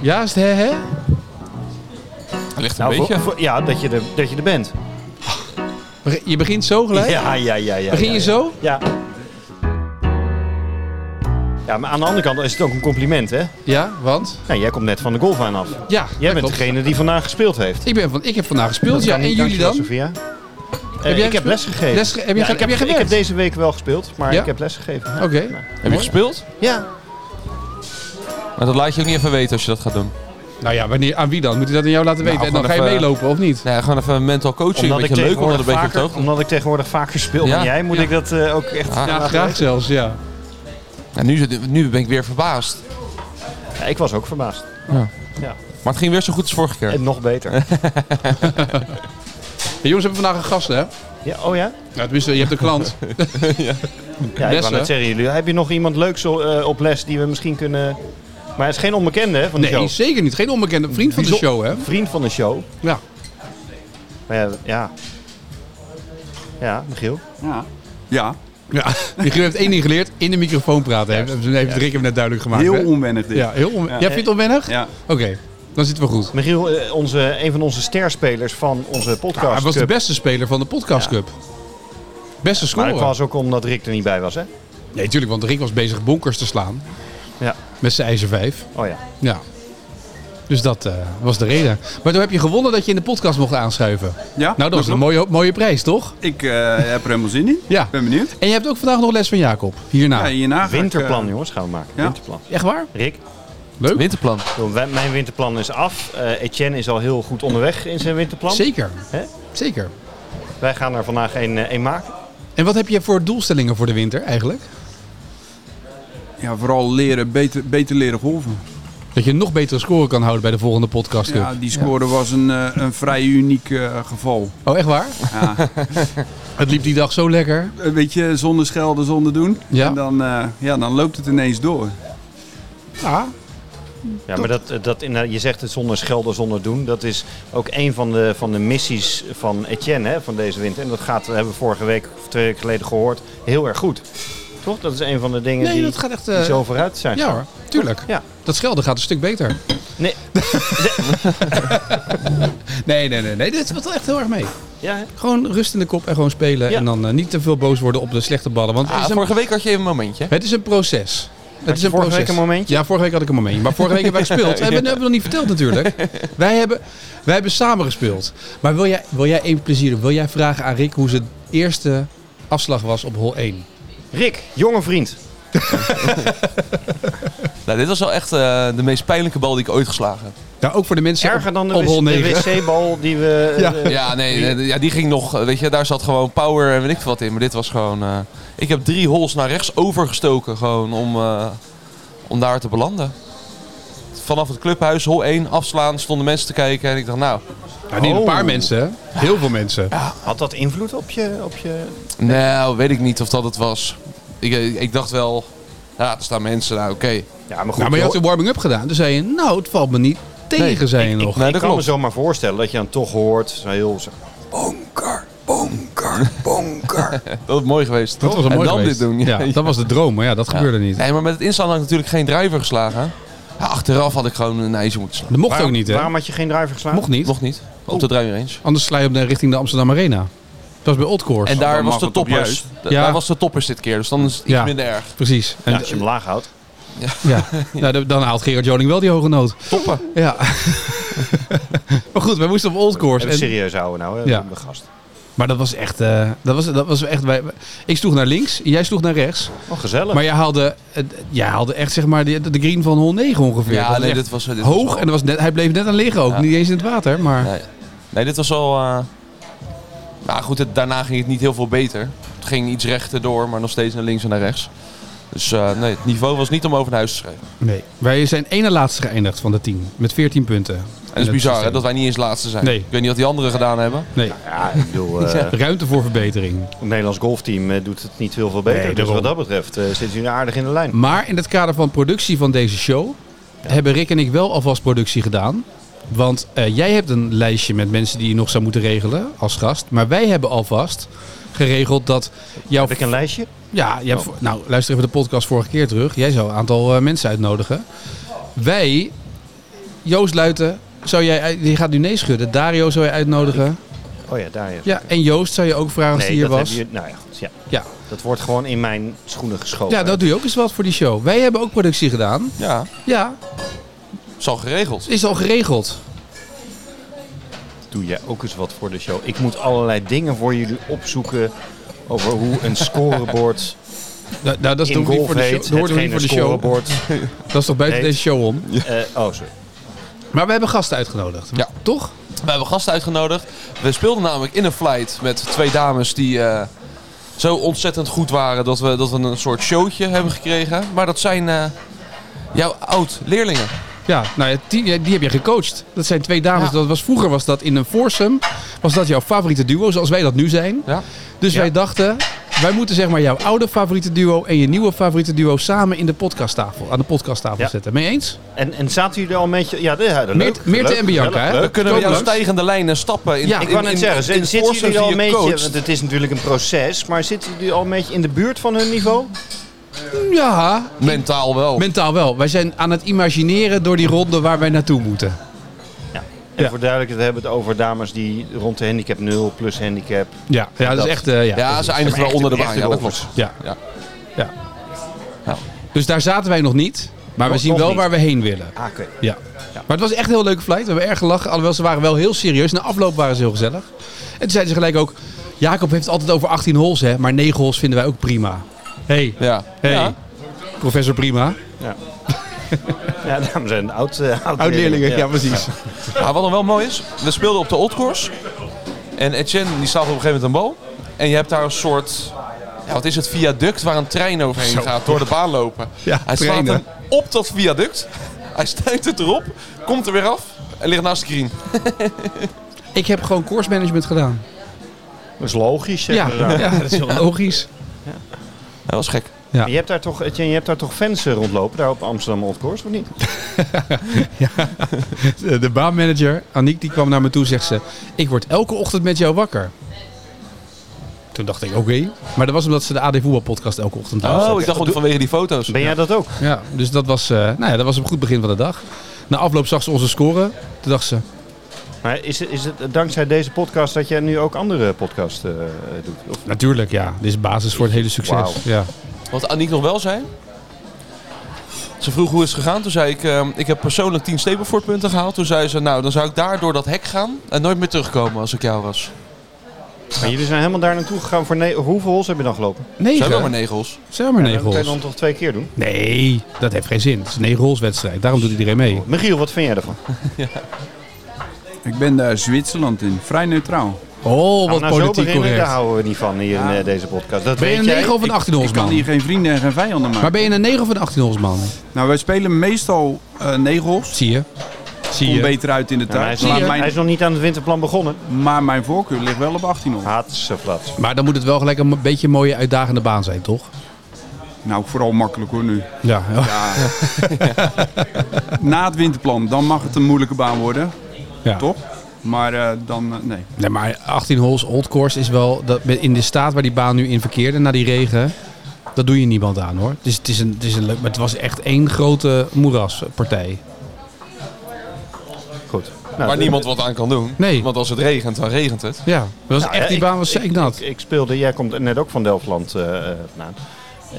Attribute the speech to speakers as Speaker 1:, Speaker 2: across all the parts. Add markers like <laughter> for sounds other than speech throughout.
Speaker 1: Ja, is het hè hè?
Speaker 2: Dat ligt een
Speaker 3: Nou,
Speaker 2: beetje.
Speaker 3: voor- voor- ja, dat je, er, dat je er bent.
Speaker 1: Beg- Je begint zo gelijk?
Speaker 3: Ja, ja, ja. ja
Speaker 1: Begin
Speaker 3: ja,
Speaker 1: je
Speaker 3: ja.
Speaker 1: zo?
Speaker 3: Ja. Ja, maar aan de andere kant is het ook een compliment, hè?
Speaker 1: Ja, want?
Speaker 3: Nou, jij komt net van de golfbaan af.
Speaker 1: Ja, dat
Speaker 3: Jij bent
Speaker 1: klopt.
Speaker 3: degene die vandaag gespeeld heeft.
Speaker 1: Ik, ben van, ik heb vandaag gespeeld,
Speaker 3: Dat
Speaker 1: ja.
Speaker 3: kan
Speaker 1: En
Speaker 3: niet,
Speaker 1: jullie
Speaker 3: dankjewel,
Speaker 1: dan?
Speaker 3: Sophia. Eh,
Speaker 1: jij
Speaker 3: ik heb
Speaker 1: gespeeld?
Speaker 3: les gegeven.
Speaker 1: Les ge- heb je
Speaker 3: Ja,
Speaker 1: ge- heb
Speaker 3: ik, heb,
Speaker 1: je
Speaker 3: ik heb
Speaker 1: gewerkt?
Speaker 3: deze week wel gespeeld, maar
Speaker 1: Ja?
Speaker 3: ik heb les gegeven. Ja.
Speaker 1: Oké.
Speaker 2: Heb je gespeeld?
Speaker 3: Ja.
Speaker 2: Maar dat laat je ook niet even weten als je dat gaat doen.
Speaker 1: Nou ja, wanneer, aan wie dan? Moet je dat aan jou laten weten?
Speaker 3: Nou,
Speaker 1: en dan
Speaker 2: gewoon
Speaker 1: ga je
Speaker 2: even-
Speaker 1: meelopen of
Speaker 3: eh,
Speaker 1: niet?
Speaker 2: Nee, gewoon even mental coaching. een beetje leuk om dat een beetje op de
Speaker 3: vaker,
Speaker 2: hoogte.
Speaker 3: omdat ik tegenwoordig vaker speel
Speaker 2: Ja.
Speaker 3: dan jij, moet
Speaker 1: Ja.
Speaker 3: ik dat eh, ook echt...
Speaker 2: Ah.
Speaker 3: eh,
Speaker 1: Ja,
Speaker 3: laten
Speaker 1: graag
Speaker 3: weten.
Speaker 1: zelfs, ja.
Speaker 2: Ja, nu, zit- nu ben ik weer verbaasd.
Speaker 3: Ja, ik was ook verbaasd.
Speaker 2: Maar het ging weer zo goed als vorige keer.
Speaker 3: En nog
Speaker 1: <laughs>
Speaker 3: beter.
Speaker 1: Hey, jongens, we hebben vandaag een gast, hè?
Speaker 3: Ja, oh ja?
Speaker 1: Nou, tenminste, je hebt een klant.
Speaker 3: Ja, ik
Speaker 1: Les,
Speaker 3: wou
Speaker 1: hè?
Speaker 3: net zeggen, jullie, heb je nog iemand leuks eh, op les die we misschien kunnen... Maar het is geen onbekende hè, van
Speaker 1: <laughs>
Speaker 3: de
Speaker 1: Nee,
Speaker 3: show.
Speaker 1: zeker niet. Geen onbekende vriend van de
Speaker 3: Bijzonder-
Speaker 1: show, hè?
Speaker 3: Vriend van de show.
Speaker 1: Ja.
Speaker 3: Maar ja, ja. Ja, Michiel.
Speaker 4: Ja.
Speaker 1: Ja, je heeft één ding geleerd, in de microfoon praten. Hè? Even Rick heeft het net duidelijk gemaakt.
Speaker 4: Heel
Speaker 1: hè?
Speaker 4: onwennig dit.
Speaker 1: Ja, heel on... Jij
Speaker 4: Ja.
Speaker 1: vindt het onwennig?
Speaker 4: Ja.
Speaker 1: Oké, dan zitten we goed.
Speaker 3: Michiel, eh, onze, een van onze sterspelers van onze podcast.
Speaker 1: hij was de
Speaker 3: Cup.
Speaker 1: beste speler van de Podcast Cup. Beste
Speaker 3: Maar dat
Speaker 1: scorer.
Speaker 3: was ook omdat Rick er niet bij was, hè?
Speaker 1: Nee, tuurlijk, want Rick was bezig bonkers te slaan.
Speaker 3: Ja.
Speaker 1: Met zijn ijzer 5.
Speaker 3: Oh ja.
Speaker 1: Ja. Dus dat eh, was de reden. Maar toen heb je gewonnen dat je in de podcast mocht aanschuiven.
Speaker 4: Ja,
Speaker 1: Nou, dat was een mooie, mooie prijs, toch?
Speaker 4: Ik eh, heb er helemaal zin in.
Speaker 1: Ja.
Speaker 4: Ik ben benieuwd.
Speaker 1: En je hebt ook vandaag nog les van Jacob. Hierna.
Speaker 4: Ja, hierna ga ik,
Speaker 3: Winterplan,
Speaker 4: eh,
Speaker 3: jongens, gaan we maken.
Speaker 4: ja.
Speaker 3: Winterplan.
Speaker 1: Echt waar?
Speaker 3: Rick,
Speaker 1: Leuk.
Speaker 2: Winterplan.
Speaker 3: joh, wij- mijn winterplan is af. Eh, Etienne is al heel goed onderweg in zijn winterplan.
Speaker 1: Zeker.
Speaker 3: Hè?
Speaker 1: Zeker.
Speaker 3: Wij gaan er vandaag een, eh, een maken.
Speaker 1: En wat heb je voor doelstellingen voor de winter eigenlijk?
Speaker 4: eh, ja, vooral leren, beter, beter leren golven.
Speaker 1: Dat je een nog betere score kan houden bij de volgende podcast Cup.
Speaker 4: Ja, die score was een, eh, een vrij uniek eh, geval.
Speaker 1: Oh, echt waar?
Speaker 4: Ja.
Speaker 1: <laughs> Het liep die dag zo lekker.
Speaker 4: Eh, Weet je, zonder schelden, zonder doen.
Speaker 1: Ja.
Speaker 4: En dan, eh, ja, dan loopt het ineens door.
Speaker 1: Ja.
Speaker 3: Ja, maar dat, dat inderdaad- je zegt het zonder schelden, zonder doen. Dat is ook een van de, van de missies van Etienne hè, van deze winter. En dat gaat, dat hebben we vorige week of twee weken geleden gehoord, heel erg goed. Toch? Dat is een van de dingen
Speaker 1: Nee,
Speaker 3: die,
Speaker 1: dat gaat echt...
Speaker 3: die
Speaker 1: eh,
Speaker 3: zo vooruit zijn.
Speaker 1: Ja hoor, tuurlijk.
Speaker 3: Ja.
Speaker 1: Dat schelden gaat een stuk beter.
Speaker 3: Nee.
Speaker 1: Nee, nee, nee. nee. Dit valt wel echt heel erg mee.
Speaker 3: Ja, hè?
Speaker 1: Gewoon rust in de kop en gewoon spelen.
Speaker 3: Ja.
Speaker 1: En dan eh, niet te veel boos worden op de slechte ballen. Want
Speaker 2: Ah,
Speaker 1: het, is een,
Speaker 2: vorige week had je even een momentje.
Speaker 1: het is een proces. Het is
Speaker 3: je
Speaker 1: een
Speaker 3: vorige
Speaker 1: proces.
Speaker 3: week een momentje?
Speaker 1: Ja, vorige week had ik een momentje. Maar vorige week hebben wij
Speaker 3: <laughs>
Speaker 1: gespeeld. We hebben, hebben we nog niet verteld natuurlijk. Wij hebben, wij hebben samen gespeeld. Maar wil jij, wil jij even plezier doen? Wil jij vragen aan Rick hoe zijn eerste afslag was op hol 1?
Speaker 3: Rick, jonge vriend.
Speaker 2: Nou, dit was wel echt eh, de meest pijnlijke bal die ik ooit geslagen heb.
Speaker 1: Nou, ook voor de mensen
Speaker 3: Erger
Speaker 1: op,
Speaker 3: dan de,
Speaker 1: op
Speaker 3: wc-
Speaker 1: hol
Speaker 3: de
Speaker 1: 9.
Speaker 3: wc-bal die
Speaker 1: <laughs>
Speaker 3: we...
Speaker 1: Ja.
Speaker 3: eh,
Speaker 2: Ja, nee, nee, ja, die ging nog. eh, Weet je, daar zat gewoon power en weet ik veel wat in. Maar dit was gewoon. eh, ik heb drie holes naar rechts overgestoken. Gewoon om, eh, om daar te belanden. Vanaf het clubhuis, hol 1, afslaan, stonden mensen te kijken. En ik dacht, nou,
Speaker 1: Ja, niet een
Speaker 3: Oh.
Speaker 1: paar mensen, hè? heel veel mensen. Nou,
Speaker 3: Had dat invloed op je... Op je...
Speaker 2: nou, weet ik niet of dat het was. Ik, eh, ik dacht wel, ja, er staan mensen, nou oké.
Speaker 3: Ja, maar goed.
Speaker 1: Nou, maar je had
Speaker 3: joh,
Speaker 1: de warming-up gedaan. Toen zei je, nou, het valt me niet tegen,
Speaker 2: Nee,
Speaker 1: zei je nog.
Speaker 2: Nee,
Speaker 3: ik
Speaker 2: dat
Speaker 3: kan me
Speaker 2: klopt.
Speaker 3: zomaar voorstellen dat je dan toch hoort... Zo heel, zo-
Speaker 2: Bonker, bonker, bonker. dat was mooi geweest.
Speaker 1: dat was een
Speaker 2: en
Speaker 1: mooi
Speaker 2: dan
Speaker 1: geweest.
Speaker 2: dit doen. <laughs>
Speaker 1: Ja, dat was de droom, maar ja, dat gebeurde niet.
Speaker 2: Nee, maar met het inslaan had ik natuurlijk geen driver geslagen. Ja, achteraf had ik gewoon een ijzer moeten slaan.
Speaker 1: Dat mocht
Speaker 3: waarom,
Speaker 1: ook niet, hè?
Speaker 3: Waarom had je geen driver geslagen?
Speaker 1: Mocht niet.
Speaker 2: Mocht niet. Op de driver eens.
Speaker 1: Anders sla je op de, richting de Amsterdam Arena. Dat was bij Oldcourt.
Speaker 2: En daar
Speaker 4: dan
Speaker 2: was
Speaker 4: mag
Speaker 2: de
Speaker 4: het op
Speaker 2: toppers.
Speaker 4: juist.
Speaker 2: Da-
Speaker 1: Ja.
Speaker 2: Daar was de toppers dit keer, dus dan is het iets
Speaker 1: Ja.
Speaker 2: minder erg.
Speaker 1: Precies. En,
Speaker 3: Ja, als je hem laag houdt.
Speaker 2: <laughs>
Speaker 1: ja. Nou, dan- dan haalt Gerard Joling wel die hoge noot.
Speaker 2: Toppen.
Speaker 1: Ja. <laughs> maar goed, wij moesten op Oldcourt.
Speaker 3: Even
Speaker 1: En-
Speaker 3: serieus houden nou, hè,
Speaker 1: Ja.
Speaker 3: de gast.
Speaker 1: Maar dat was echt... eh, dat was, dat was echt wij, ik sloeg naar links, jij sloeg naar rechts.
Speaker 3: Oh, gezellig.
Speaker 1: Maar jij haalde, eh, jij haalde echt zeg maar de, de green van hol 9 ongeveer.
Speaker 2: Ja,
Speaker 1: Dat was
Speaker 2: nee,
Speaker 1: echt
Speaker 2: dit was... eh, Dit was
Speaker 1: hoog
Speaker 2: wel-
Speaker 1: en er was net, hij bleef net aan liggen ook.
Speaker 2: Ja.
Speaker 1: Niet eens in het water, maar...
Speaker 2: Nee. nee, dit was al... eh, Nou goed, het- daarna ging het niet heel veel beter. Het ging iets rechter door, maar nog steeds naar links en naar rechts. Dus eh, nee, het niveau was niet om over naar huis te schrijven.
Speaker 1: Nee. Wij zijn ene laatste geëindigd van de tien. Met 14 punten.
Speaker 2: En dat is bizar hè, dat wij niet eens laatste zijn.
Speaker 1: Nee.
Speaker 2: Ik weet niet wat die anderen gedaan hebben.
Speaker 1: Nee.
Speaker 3: Ja, ik
Speaker 1: <laughs>
Speaker 3: bedoel, eh,
Speaker 1: Ruimte voor verbetering.
Speaker 3: het Nederlands golfteam eh, doet het niet heel veel beter.
Speaker 1: Nee,
Speaker 3: dus
Speaker 1: daarom.
Speaker 3: wat dat betreft eh, zitten jullie aardig in de lijn.
Speaker 1: Maar in het kader van productie van deze show... hebben Rick en ik wel alvast productie gedaan. Want eh, jij hebt een lijstje met mensen die je nog zou moeten regelen als gast. Maar wij hebben alvast geregeld dat jouw...
Speaker 3: Heb ik een lijstje?
Speaker 1: Ja, je hebt,
Speaker 2: Oh.
Speaker 1: voor- nou luister even de podcast vorige keer terug. Jij zou een aantal eh, mensen uitnodigen. Wij Joost Luiten, zou jij, die gaat nu nee schudden. Dario zou je uitnodigen.
Speaker 3: Oh ja, daar heeft
Speaker 1: Ja, en Joost zou je ook vragen als
Speaker 3: nee,
Speaker 1: hij hier
Speaker 3: dat
Speaker 1: was.
Speaker 3: hebben jullie- nou ja, goed, ja,
Speaker 1: Ja.
Speaker 3: dat wordt gewoon in mijn schoenen geschoven.
Speaker 1: ja, dat doe je ook eens wat voor die show. Wij hebben ook productie gedaan.
Speaker 2: Ja,
Speaker 1: Ja,
Speaker 2: is al geregeld.
Speaker 1: het is al geregeld.
Speaker 3: doe jij ook eens wat voor de show. Ik moet allerlei dingen voor jullie opzoeken over hoe een
Speaker 1: <laughs>
Speaker 3: scoreboard
Speaker 1: Nou, nou, dat is
Speaker 3: in
Speaker 1: toch niet
Speaker 3: golf
Speaker 1: voor de show.
Speaker 3: heet.
Speaker 1: Dat hoort
Speaker 3: Hetgeen
Speaker 1: er niet voor
Speaker 3: een
Speaker 1: de show.
Speaker 3: scoreboard.
Speaker 1: <laughs> Dat is toch buiten
Speaker 3: heet.
Speaker 1: deze show om.
Speaker 3: Eh, oh, sorry.
Speaker 1: Maar we hebben gasten uitgenodigd.
Speaker 2: Ja.
Speaker 1: Toch?
Speaker 2: We hebben gasten uitgenodigd. We speelden namelijk in een flight met twee dames die eh, zo ontzettend goed waren dat we, dat we een soort showtje hebben gekregen. Maar dat zijn eh, jouw oud-leerlingen.
Speaker 1: Ja, nou ja, die, die heb je gecoacht. Dat zijn twee dames.
Speaker 2: Ja.
Speaker 1: Dat was, vroeger was dat in een foursome. Was dat jouw favoriete duo, zoals wij dat nu zijn.
Speaker 2: Ja.
Speaker 1: Dus
Speaker 3: Ja.
Speaker 1: wij dachten, wij moeten zeg maar jouw oude favoriete duo en je nieuwe favoriete duo samen in de podcasttafel, aan de podcasttafel
Speaker 3: Ja.
Speaker 1: zetten. Mee eens?
Speaker 3: En, en zaten jullie al een beetje... Ja, dat, ja, dat
Speaker 1: Meert-
Speaker 3: leuk,
Speaker 1: Meerte
Speaker 3: leuk,
Speaker 1: en Bianca,
Speaker 3: gezellig,
Speaker 1: hè?
Speaker 3: leuk.
Speaker 2: We kunnen we
Speaker 1: Kom
Speaker 2: jouw
Speaker 1: langs.
Speaker 2: stijgende lijnen stappen. In,
Speaker 1: Ja.
Speaker 2: in-
Speaker 3: Ik wou net
Speaker 2: in-
Speaker 3: zeggen,
Speaker 2: in
Speaker 3: zitten
Speaker 2: voorsets
Speaker 3: jullie al
Speaker 2: die
Speaker 3: een
Speaker 2: je
Speaker 3: beetje,
Speaker 2: coacht.
Speaker 3: want het is natuurlijk een proces, maar zitten jullie al een beetje in de buurt van hun niveau?
Speaker 1: Ja,
Speaker 2: Mentaal wel.
Speaker 1: mentaal wel. Wij zijn aan het imagineren door die ronde waar wij naartoe moeten.
Speaker 3: En
Speaker 1: Ja.
Speaker 3: voor duidelijkheid, we hebben het over dames die rond de handicap 0 plus handicap.
Speaker 1: Ja, ja dat,
Speaker 3: Dat-
Speaker 1: is echt... eh, ja.
Speaker 2: ja, ze eindigen wel
Speaker 3: Echte-
Speaker 2: onder de
Speaker 3: echte
Speaker 2: baan. Ja, dat
Speaker 3: golfers.
Speaker 2: klopt.
Speaker 1: Ja.
Speaker 2: Ja.
Speaker 1: Ja.
Speaker 2: Ja.
Speaker 1: Dus daar zaten wij nog niet. Maar we
Speaker 3: Nog-
Speaker 1: zien
Speaker 3: nog
Speaker 1: wel
Speaker 3: niet.
Speaker 1: waar we heen willen.
Speaker 3: Ah, oké.
Speaker 1: Ja. Maar het was echt een heel leuke flight. We hebben erg gelachen. Alhoewel, ze waren wel heel serieus. Na afloop waren ze heel gezellig. En toen zeiden ze gelijk ook... Jacob heeft het altijd over 18 holes, hè. Maar 9 holes vinden wij ook prima. hey,
Speaker 2: Ja.
Speaker 1: hey,
Speaker 2: Ja.
Speaker 1: professor prima.
Speaker 3: Ja, dames en oud, eh, oud
Speaker 1: Oud-leerlingen, ja, precies.
Speaker 2: Maar Ah, wat dan wel mooi is, we speelden op de old course. En Etienne die staat op een gegeven moment een bal. En je hebt daar een soort, ja, wat is het, viaduct waar een trein overheen gaat door de baan lopen.
Speaker 1: Ja,
Speaker 2: Hij slaat
Speaker 1: treinen.
Speaker 2: hem op dat viaduct. Hij stuit het erop, komt er weer af en ligt naast de green.
Speaker 1: Ik heb gewoon course management gedaan.
Speaker 3: Dat is logisch.
Speaker 1: Ja,
Speaker 3: zeggen we daar.
Speaker 1: ja, dat is heel logisch.
Speaker 2: Dat was gek.
Speaker 1: Ja.
Speaker 3: Je hebt daar toch, Etienne, je hebt daar toch fans eh, rondlopen, daar op Amsterdam Old Course, of niet?
Speaker 1: Eh, De de baanmanager, Aniek, die kwam naar me toe zegt ze... Ik word elke ochtend met jou wakker. Toen dacht ik, oké. Maar dat was omdat ze de AD Voetbal podcast elke ochtend
Speaker 2: Oh,
Speaker 1: luisterde.
Speaker 2: ik dacht gewoon vanwege die foto's.
Speaker 3: Ben jij dat ook?
Speaker 1: Ja, dus dat was, eh, nou ja, dat was een goed begin van de dag. Na afloop zag ze onze score. Toen dacht ze,
Speaker 3: Maar is, het- is het dankzij deze podcast dat jij nu ook andere podcasts eh, doet? Of,
Speaker 1: natuurlijk ja, dit is basis voor het hele succes.
Speaker 3: Wauw.
Speaker 1: Ja.
Speaker 2: Wat Aniek nog wel zei. Ze vroeg hoe is het gegaan. Toen zei ik, ehm, ik heb persoonlijk 10 Stableford punten gehaald. Toen zei ze, nou dan zou ik daar door dat hek gaan en nooit meer terugkomen als ik jou was.
Speaker 3: maar jullie zijn helemaal daar naartoe gegaan voor... ne- Hoeveel holes heb je dan gelopen?
Speaker 2: Zijn wel maar
Speaker 1: Negen?
Speaker 2: negels.
Speaker 1: Zijn maar
Speaker 3: Ja,
Speaker 1: negen
Speaker 3: Dat kan je
Speaker 1: holes.
Speaker 3: dan toch twee keer doen?
Speaker 1: Nee, dat heeft geen zin. Het is een negen holes wedstrijd. Daarom doet iedereen mee.
Speaker 3: Michiel, wat vind jij ervan?
Speaker 4: Ik ben daar Zwitserland in. Vrij neutraal.
Speaker 1: Oh, wat
Speaker 3: Nou, nou, zo
Speaker 1: politiek
Speaker 3: beginnen, daar
Speaker 1: correct.
Speaker 3: houden we niet van hier in eh, deze podcast. Dat
Speaker 1: Ben je
Speaker 3: weet
Speaker 1: een
Speaker 3: jij.
Speaker 1: 9 of een
Speaker 4: Ik-
Speaker 1: 18 holes
Speaker 4: Ik kan
Speaker 1: man?
Speaker 4: hier geen vrienden en geen vijanden maken.
Speaker 1: Maar ben je een 9 of een 18 holes man?
Speaker 4: Nou, wij spelen meestal eh negels.
Speaker 1: Zie je? Zie
Speaker 4: Komt
Speaker 1: je?
Speaker 4: beter uit in de
Speaker 3: Ja, maar Nou, hij,
Speaker 4: tijd.
Speaker 3: is nog,
Speaker 1: Laat
Speaker 4: maar,
Speaker 3: hij is
Speaker 4: mijn,
Speaker 3: nog niet aan het winterplan begonnen.
Speaker 4: maar mijn voorkeur ligt wel op 18 hoor.
Speaker 3: Haatse flats.
Speaker 1: Maar dan moet het wel gelijk een beetje een mooie uitdagende baan zijn, toch?
Speaker 4: Nou, vooral makkelijk hoor nu.
Speaker 1: Ja.
Speaker 4: Na het winterplan, dan mag het een moeilijke baan worden.
Speaker 1: ja.
Speaker 4: Toch? Maar eh, dan, eh, nee.
Speaker 1: Nee, maar 18 holes old course is wel dat met- in de staat waar die baan nu in verkeerde na die regen. Dat doe je niemand aan hoor. Dus het is een, het is een leuk, maar het was echt één grote moeraspartij.
Speaker 3: Goed. Nou,
Speaker 2: Waar
Speaker 3: dat-
Speaker 2: niemand wat aan kan doen.
Speaker 1: Nee.
Speaker 2: Want als het regent, dan regent het.
Speaker 1: Ja, dat was
Speaker 3: Nou,
Speaker 1: echt
Speaker 3: ja,
Speaker 1: die
Speaker 3: ik-
Speaker 1: baan was zeker
Speaker 3: Ik-
Speaker 1: nat.
Speaker 3: Ik speelde, jij komt net ook van Delftland eh, eh, vandaan.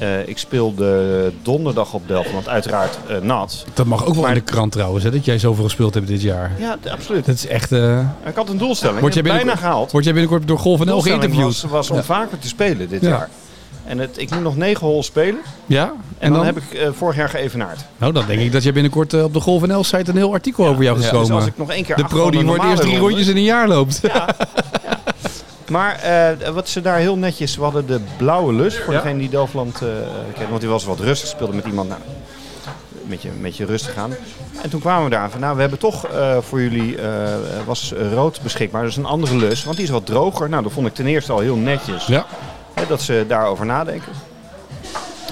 Speaker 3: Eh, ik speelde donderdag op Delftland, uiteraard eh, nat.
Speaker 1: Dat mag ook wel in
Speaker 3: Maar-
Speaker 1: de krant trouwens, hè, dat jij zoveel gespeeld hebt dit jaar.
Speaker 3: Ja, d- absoluut.
Speaker 1: Dat is echt. eh
Speaker 3: Ik had een doelstelling,
Speaker 1: Word
Speaker 3: Word
Speaker 1: jij
Speaker 3: je bijna
Speaker 1: binnenkort-
Speaker 3: gehaald.
Speaker 1: word jij binnenkort door Golf NL
Speaker 3: Doelstelling was,
Speaker 1: geïnterviewd?
Speaker 3: was om vaker te spelen dit
Speaker 1: Ja.
Speaker 3: jaar. En het, ik moet nog negen holes spelen. En,
Speaker 1: Ja. En,
Speaker 3: dan,
Speaker 1: dan,
Speaker 3: heb ik eh, vorig jaar geëvenaard.
Speaker 1: nou, dan denk ik dat jij binnenkort eh, op de Golf NL site een heel artikel over jou
Speaker 2: ja.
Speaker 1: gaat
Speaker 2: Dus
Speaker 1: komen.
Speaker 3: Dus als ik nog één keer
Speaker 1: de
Speaker 3: achter
Speaker 1: pro
Speaker 3: van
Speaker 1: die wordt
Speaker 3: normale
Speaker 1: eerst drie
Speaker 3: ronde-
Speaker 1: rondjes in een jaar loopt.
Speaker 3: Maar eh, wat ze daar heel netjes, we hadden de blauwe lus voor
Speaker 1: Ja.
Speaker 3: degene die Delftland eh, kent. Want die was wat rustig, speelde met iemand. Nou, een beetje, een beetje rustig aan. En toen kwamen we daar aan van, nou we hebben toch eh, voor jullie, eh, was rood beschikbaar. Dus een andere lus, want die is wat droger. Nou, dat vond ik ten eerste al heel netjes.
Speaker 1: Ja.
Speaker 3: Hè, dat ze daarover nadenken.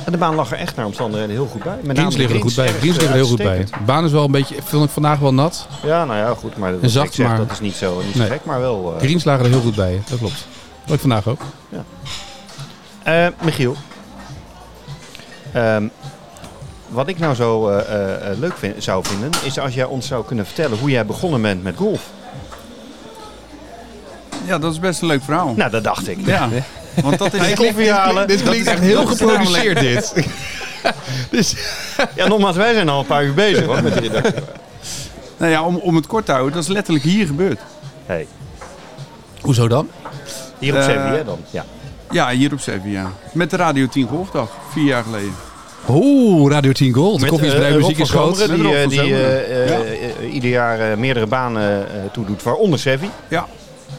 Speaker 3: En de baan lag er echt naar omstandigheden heel goed bij. Met name
Speaker 1: Greens
Speaker 3: de
Speaker 1: liggen er goed bij.
Speaker 3: echt,
Speaker 1: Greens liggen er heel goed bij.
Speaker 3: uitstekend.
Speaker 1: De baan is wel een beetje, vond ik vandaag wel nat.
Speaker 3: Ja, nou ja, goed. Maar wat
Speaker 1: zacht
Speaker 3: ik zeg,
Speaker 1: maar.
Speaker 3: dat is niet zo, niet zo
Speaker 1: Nee.
Speaker 3: gek, maar wel... eh.
Speaker 1: Greens lagen er heel goed bij, dat klopt. Ook vandaag ook.
Speaker 3: Eh, Michiel. Ehm, wat ik nou zo eh, eh, eh, leuk vind, zou vinden, is als jij ons zou kunnen vertellen hoe jij begonnen bent met golf.
Speaker 4: Ja, dat is best een leuk verhaal.
Speaker 3: Nou, dat dacht ik.
Speaker 1: <laughs>
Speaker 4: Ja, want dat is...
Speaker 3: koffie halen.
Speaker 1: Dit klinkt echt heel geproduceerd, dit.
Speaker 3: Ja, nogmaals, wij zijn al een paar uur bezig hoor, met
Speaker 1: <laughs>
Speaker 3: die redactie.
Speaker 4: Nou ja, om, om het kort te houden, dat is letterlijk hier gebeurd.
Speaker 3: Hey,
Speaker 1: Hoezo dan?
Speaker 3: hier op
Speaker 4: Eh,
Speaker 3: CBR dan. Ja.
Speaker 4: Ja, hier op Sevilla. Met de Radio 10 Golfdag, vier jaar geleden.
Speaker 1: Oeh, Radio 10 Gold. De koffie is
Speaker 3: eh,
Speaker 1: blij,
Speaker 3: Rob
Speaker 1: muziek
Speaker 3: van
Speaker 1: is groot.
Speaker 3: Zomeren, Die,
Speaker 4: Met Rob
Speaker 3: eh,
Speaker 4: van
Speaker 3: die
Speaker 4: Zomeren.
Speaker 3: eh, eh,
Speaker 4: Ja.
Speaker 3: eh, eh, ieder jaar eh, meerdere banen eh toedoet, waaronder Sevi.
Speaker 4: Ja.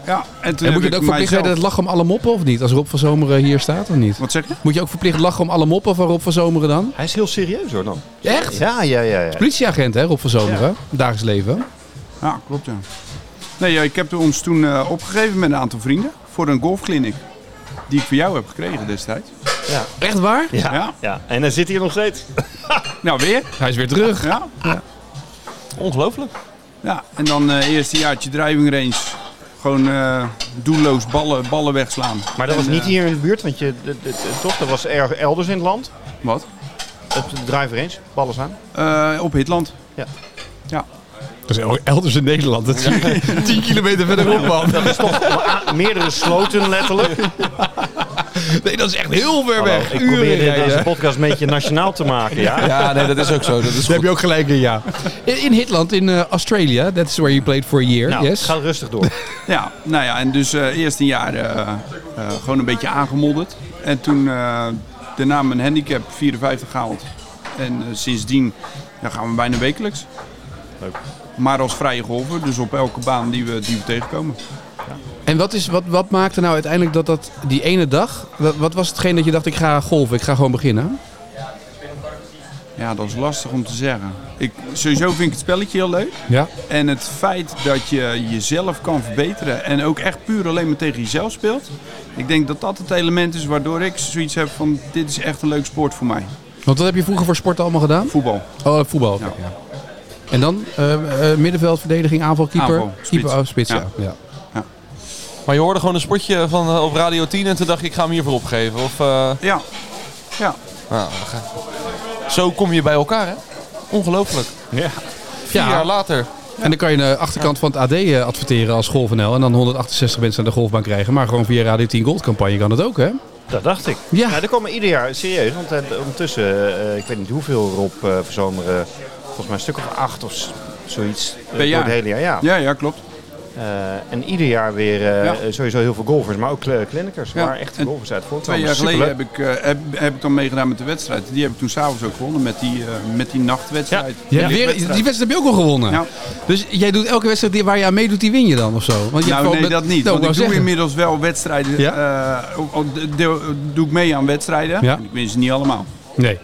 Speaker 4: ja. En toen
Speaker 1: En moet
Speaker 4: heb
Speaker 1: je het
Speaker 4: ik
Speaker 1: ook verplicht
Speaker 4: mijzelf-
Speaker 1: weten dat het lachen om alle moppen of niet? Als Rob van Zomeren hier staat of niet?
Speaker 4: Wat zeg je?
Speaker 1: Moet je ook verplicht lachen om alle moppen van Rob van Zomeren dan?
Speaker 3: Hij is heel serieus hoor dan.
Speaker 1: Echt?
Speaker 3: Ja, ja, ja. ja.
Speaker 1: Politieagent, hè, Rob van Zomeren. Dagelijks leven.
Speaker 4: Ja, klopt ja. Nee, ja, ik heb ons toen eh, opgegeven met een aantal vrienden voor een golfclinic. Die ik voor jou heb gekregen destijds.
Speaker 1: Echt waar?
Speaker 3: Ja, ja.
Speaker 4: Ja.
Speaker 3: En hij zit hier nog steeds.
Speaker 4: Nou, weer?
Speaker 1: Hij is weer terug.
Speaker 4: Ja.
Speaker 2: Ongelooflijk.
Speaker 4: ja. En dan eh eerste jaartje driving range. Gewoon eh, doelloos ballen, ballen wegslaan.
Speaker 3: Maar dat
Speaker 4: En,
Speaker 3: was niet
Speaker 4: eh,
Speaker 3: hier in de buurt, want je, de- de- de- toch, dat was er, elders in het land.
Speaker 4: Wat?
Speaker 3: Op de driver eens, ballen aan.
Speaker 4: Eh, op Hitland.
Speaker 1: Dat is elders in Nederland. Dat zie <laughs> je 10 kilometer verderop, man.
Speaker 3: <laughs> Meerdere sloten letterlijk.
Speaker 1: <laughs> Nee, dat is echt heel ver
Speaker 3: Hallo,
Speaker 1: weg.
Speaker 3: ik
Speaker 1: Uren
Speaker 3: probeer
Speaker 1: rijden.
Speaker 3: deze podcast een beetje nationaal te maken.
Speaker 4: <laughs>
Speaker 3: Ja?
Speaker 2: Ja, nee, dat is ook zo. Dat <laughs> is
Speaker 1: Daar heb
Speaker 2: goed.
Speaker 1: je ook gelijk in, ja. In, in Hitland, in eh, Australia, that's where you played for a year,
Speaker 3: Nou,
Speaker 1: yes.
Speaker 3: ga rustig
Speaker 4: <laughs>
Speaker 3: door.
Speaker 4: Ja, nou ja, en dus eh, eerst een jaar eh, eh, gewoon een beetje aangemodderd. En toen eh, daarna mijn handicap 54 gehaald. En eh, sindsdien ja, gaan we bijna wekelijks.
Speaker 3: Leuk.
Speaker 4: Maar als vrije golfer, dus op elke baan die we, die we tegenkomen.
Speaker 1: En wat, is, wat, wat maakte nou uiteindelijk dat dat die ene dag... Wat, wat was hetgeen dat je dacht, ik ga golven, ik ga gewoon beginnen?
Speaker 4: Ja, dat is lastig om te zeggen. Ik, sowieso vind ik het spelletje heel leuk.
Speaker 1: Ja.
Speaker 4: En het feit dat je jezelf kan verbeteren en ook echt puur alleen maar tegen jezelf speelt. Ik denk dat dat het element is waardoor ik zoiets heb van dit is echt een leuk sport voor mij.
Speaker 1: Want wat heb je vroeger voor sport allemaal gedaan?
Speaker 4: Voetbal.
Speaker 1: Oh, eh, voetbal. oké,
Speaker 4: Ja.
Speaker 1: ja. En dan eh, eh, middenveld, verdediging, aanval, keeper?
Speaker 4: Aanval, spits.
Speaker 1: Keeper, oh, spits, ja.
Speaker 4: Ja.
Speaker 1: ja.
Speaker 2: Maar je hoorde gewoon een spotje van, eh, op Radio 10 en toen dacht ik, ik ga hem hiervoor opgeven. Of, eh,
Speaker 4: Ja. Ja.
Speaker 2: nou, we gaan- zo kom je bij elkaar, hè? Ongelooflijk.
Speaker 3: Ja.
Speaker 2: Vier
Speaker 1: Ja.
Speaker 2: jaar later.
Speaker 1: En dan kan je de achterkant van het AD eh, adverteren als GolfNL. En dan 168 mensen aan de golfbaan krijgen. Maar gewoon via Radio 10 Gold campagne kan dat ook, hè?
Speaker 3: Dat dacht ik.
Speaker 1: Ja.
Speaker 3: Nou, er komen ieder jaar, serieus, want eh, ondertussen, eh, ik weet niet hoeveel Rob eh verzomeren, volgens mij een stuk of acht of s- zoiets. eh,
Speaker 4: jaar.
Speaker 3: Door het hele jaar, ja.
Speaker 4: Ja, ja, klopt.
Speaker 3: Eh, en ieder jaar weer eh,
Speaker 4: Ja.
Speaker 3: sowieso heel veel golfers, maar ook kle- clinicers.
Speaker 4: Ja.
Speaker 3: Maar echt
Speaker 4: En
Speaker 3: golfers uit
Speaker 4: Twee
Speaker 3: voortkomen.
Speaker 4: jaar geleden
Speaker 3: Superleuk.
Speaker 4: heb ik, eh, heb, heb ik dan meegedaan met de wedstrijd. Die heb ik toen s'avonds ook gewonnen met die, eh, met die nachtwedstrijd.
Speaker 1: Je hebt
Speaker 4: Die
Speaker 1: weer,
Speaker 4: wedstrijd.
Speaker 1: die wedstrijd heb je ook al gewonnen.
Speaker 4: Ja.
Speaker 1: Dus jij doet elke wedstrijd die- waar je aan meedoet, die win je dan of zo? Want je hebt
Speaker 4: Nou,
Speaker 1: gewoon
Speaker 4: nee,
Speaker 1: met-
Speaker 4: dat niet.
Speaker 1: Nou,
Speaker 4: want ik
Speaker 1: wou
Speaker 4: doe
Speaker 1: zeggen.
Speaker 4: inmiddels wel wedstrijden. eh, ook al de- de- doe ik mee aan wedstrijden.
Speaker 1: Ja.
Speaker 4: Ik win ze niet allemaal.
Speaker 1: Nee,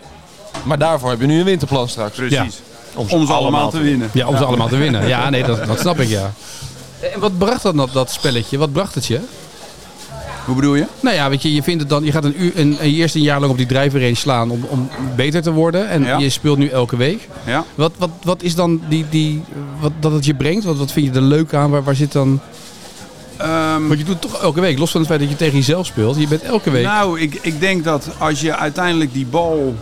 Speaker 2: Maar daarvoor heb je nu een winterplan straks.
Speaker 4: Precies. Om ze
Speaker 3: allemaal
Speaker 4: allemaal,
Speaker 3: te
Speaker 4: te winnen.
Speaker 1: ja, om ze allemaal te winnen. Ja, nee, dat, dat snap ik, ja. Eh, En wat bracht dat, dat, dat spelletje? Wat bracht het je?
Speaker 4: Hoe bedoel je?
Speaker 1: Nou ja, weet je, je, vindt het dan, je gaat een uur, een, een, eerst een jaar lang op die drijverrange slaan om, om beter te worden. En
Speaker 4: Ja.
Speaker 1: je speelt nu elke week.
Speaker 4: Ja.
Speaker 1: Wat, wat, wat is dan die, die, wat, dat het je brengt? Wat, wat vind je er leuk aan? Waar, waar zit dan...
Speaker 4: Ehm,
Speaker 1: Want je doet het toch elke week, los van het feit dat je tegen jezelf speelt. Je bent elke week...
Speaker 4: Nou, ik, ik denk dat als je uiteindelijk die bal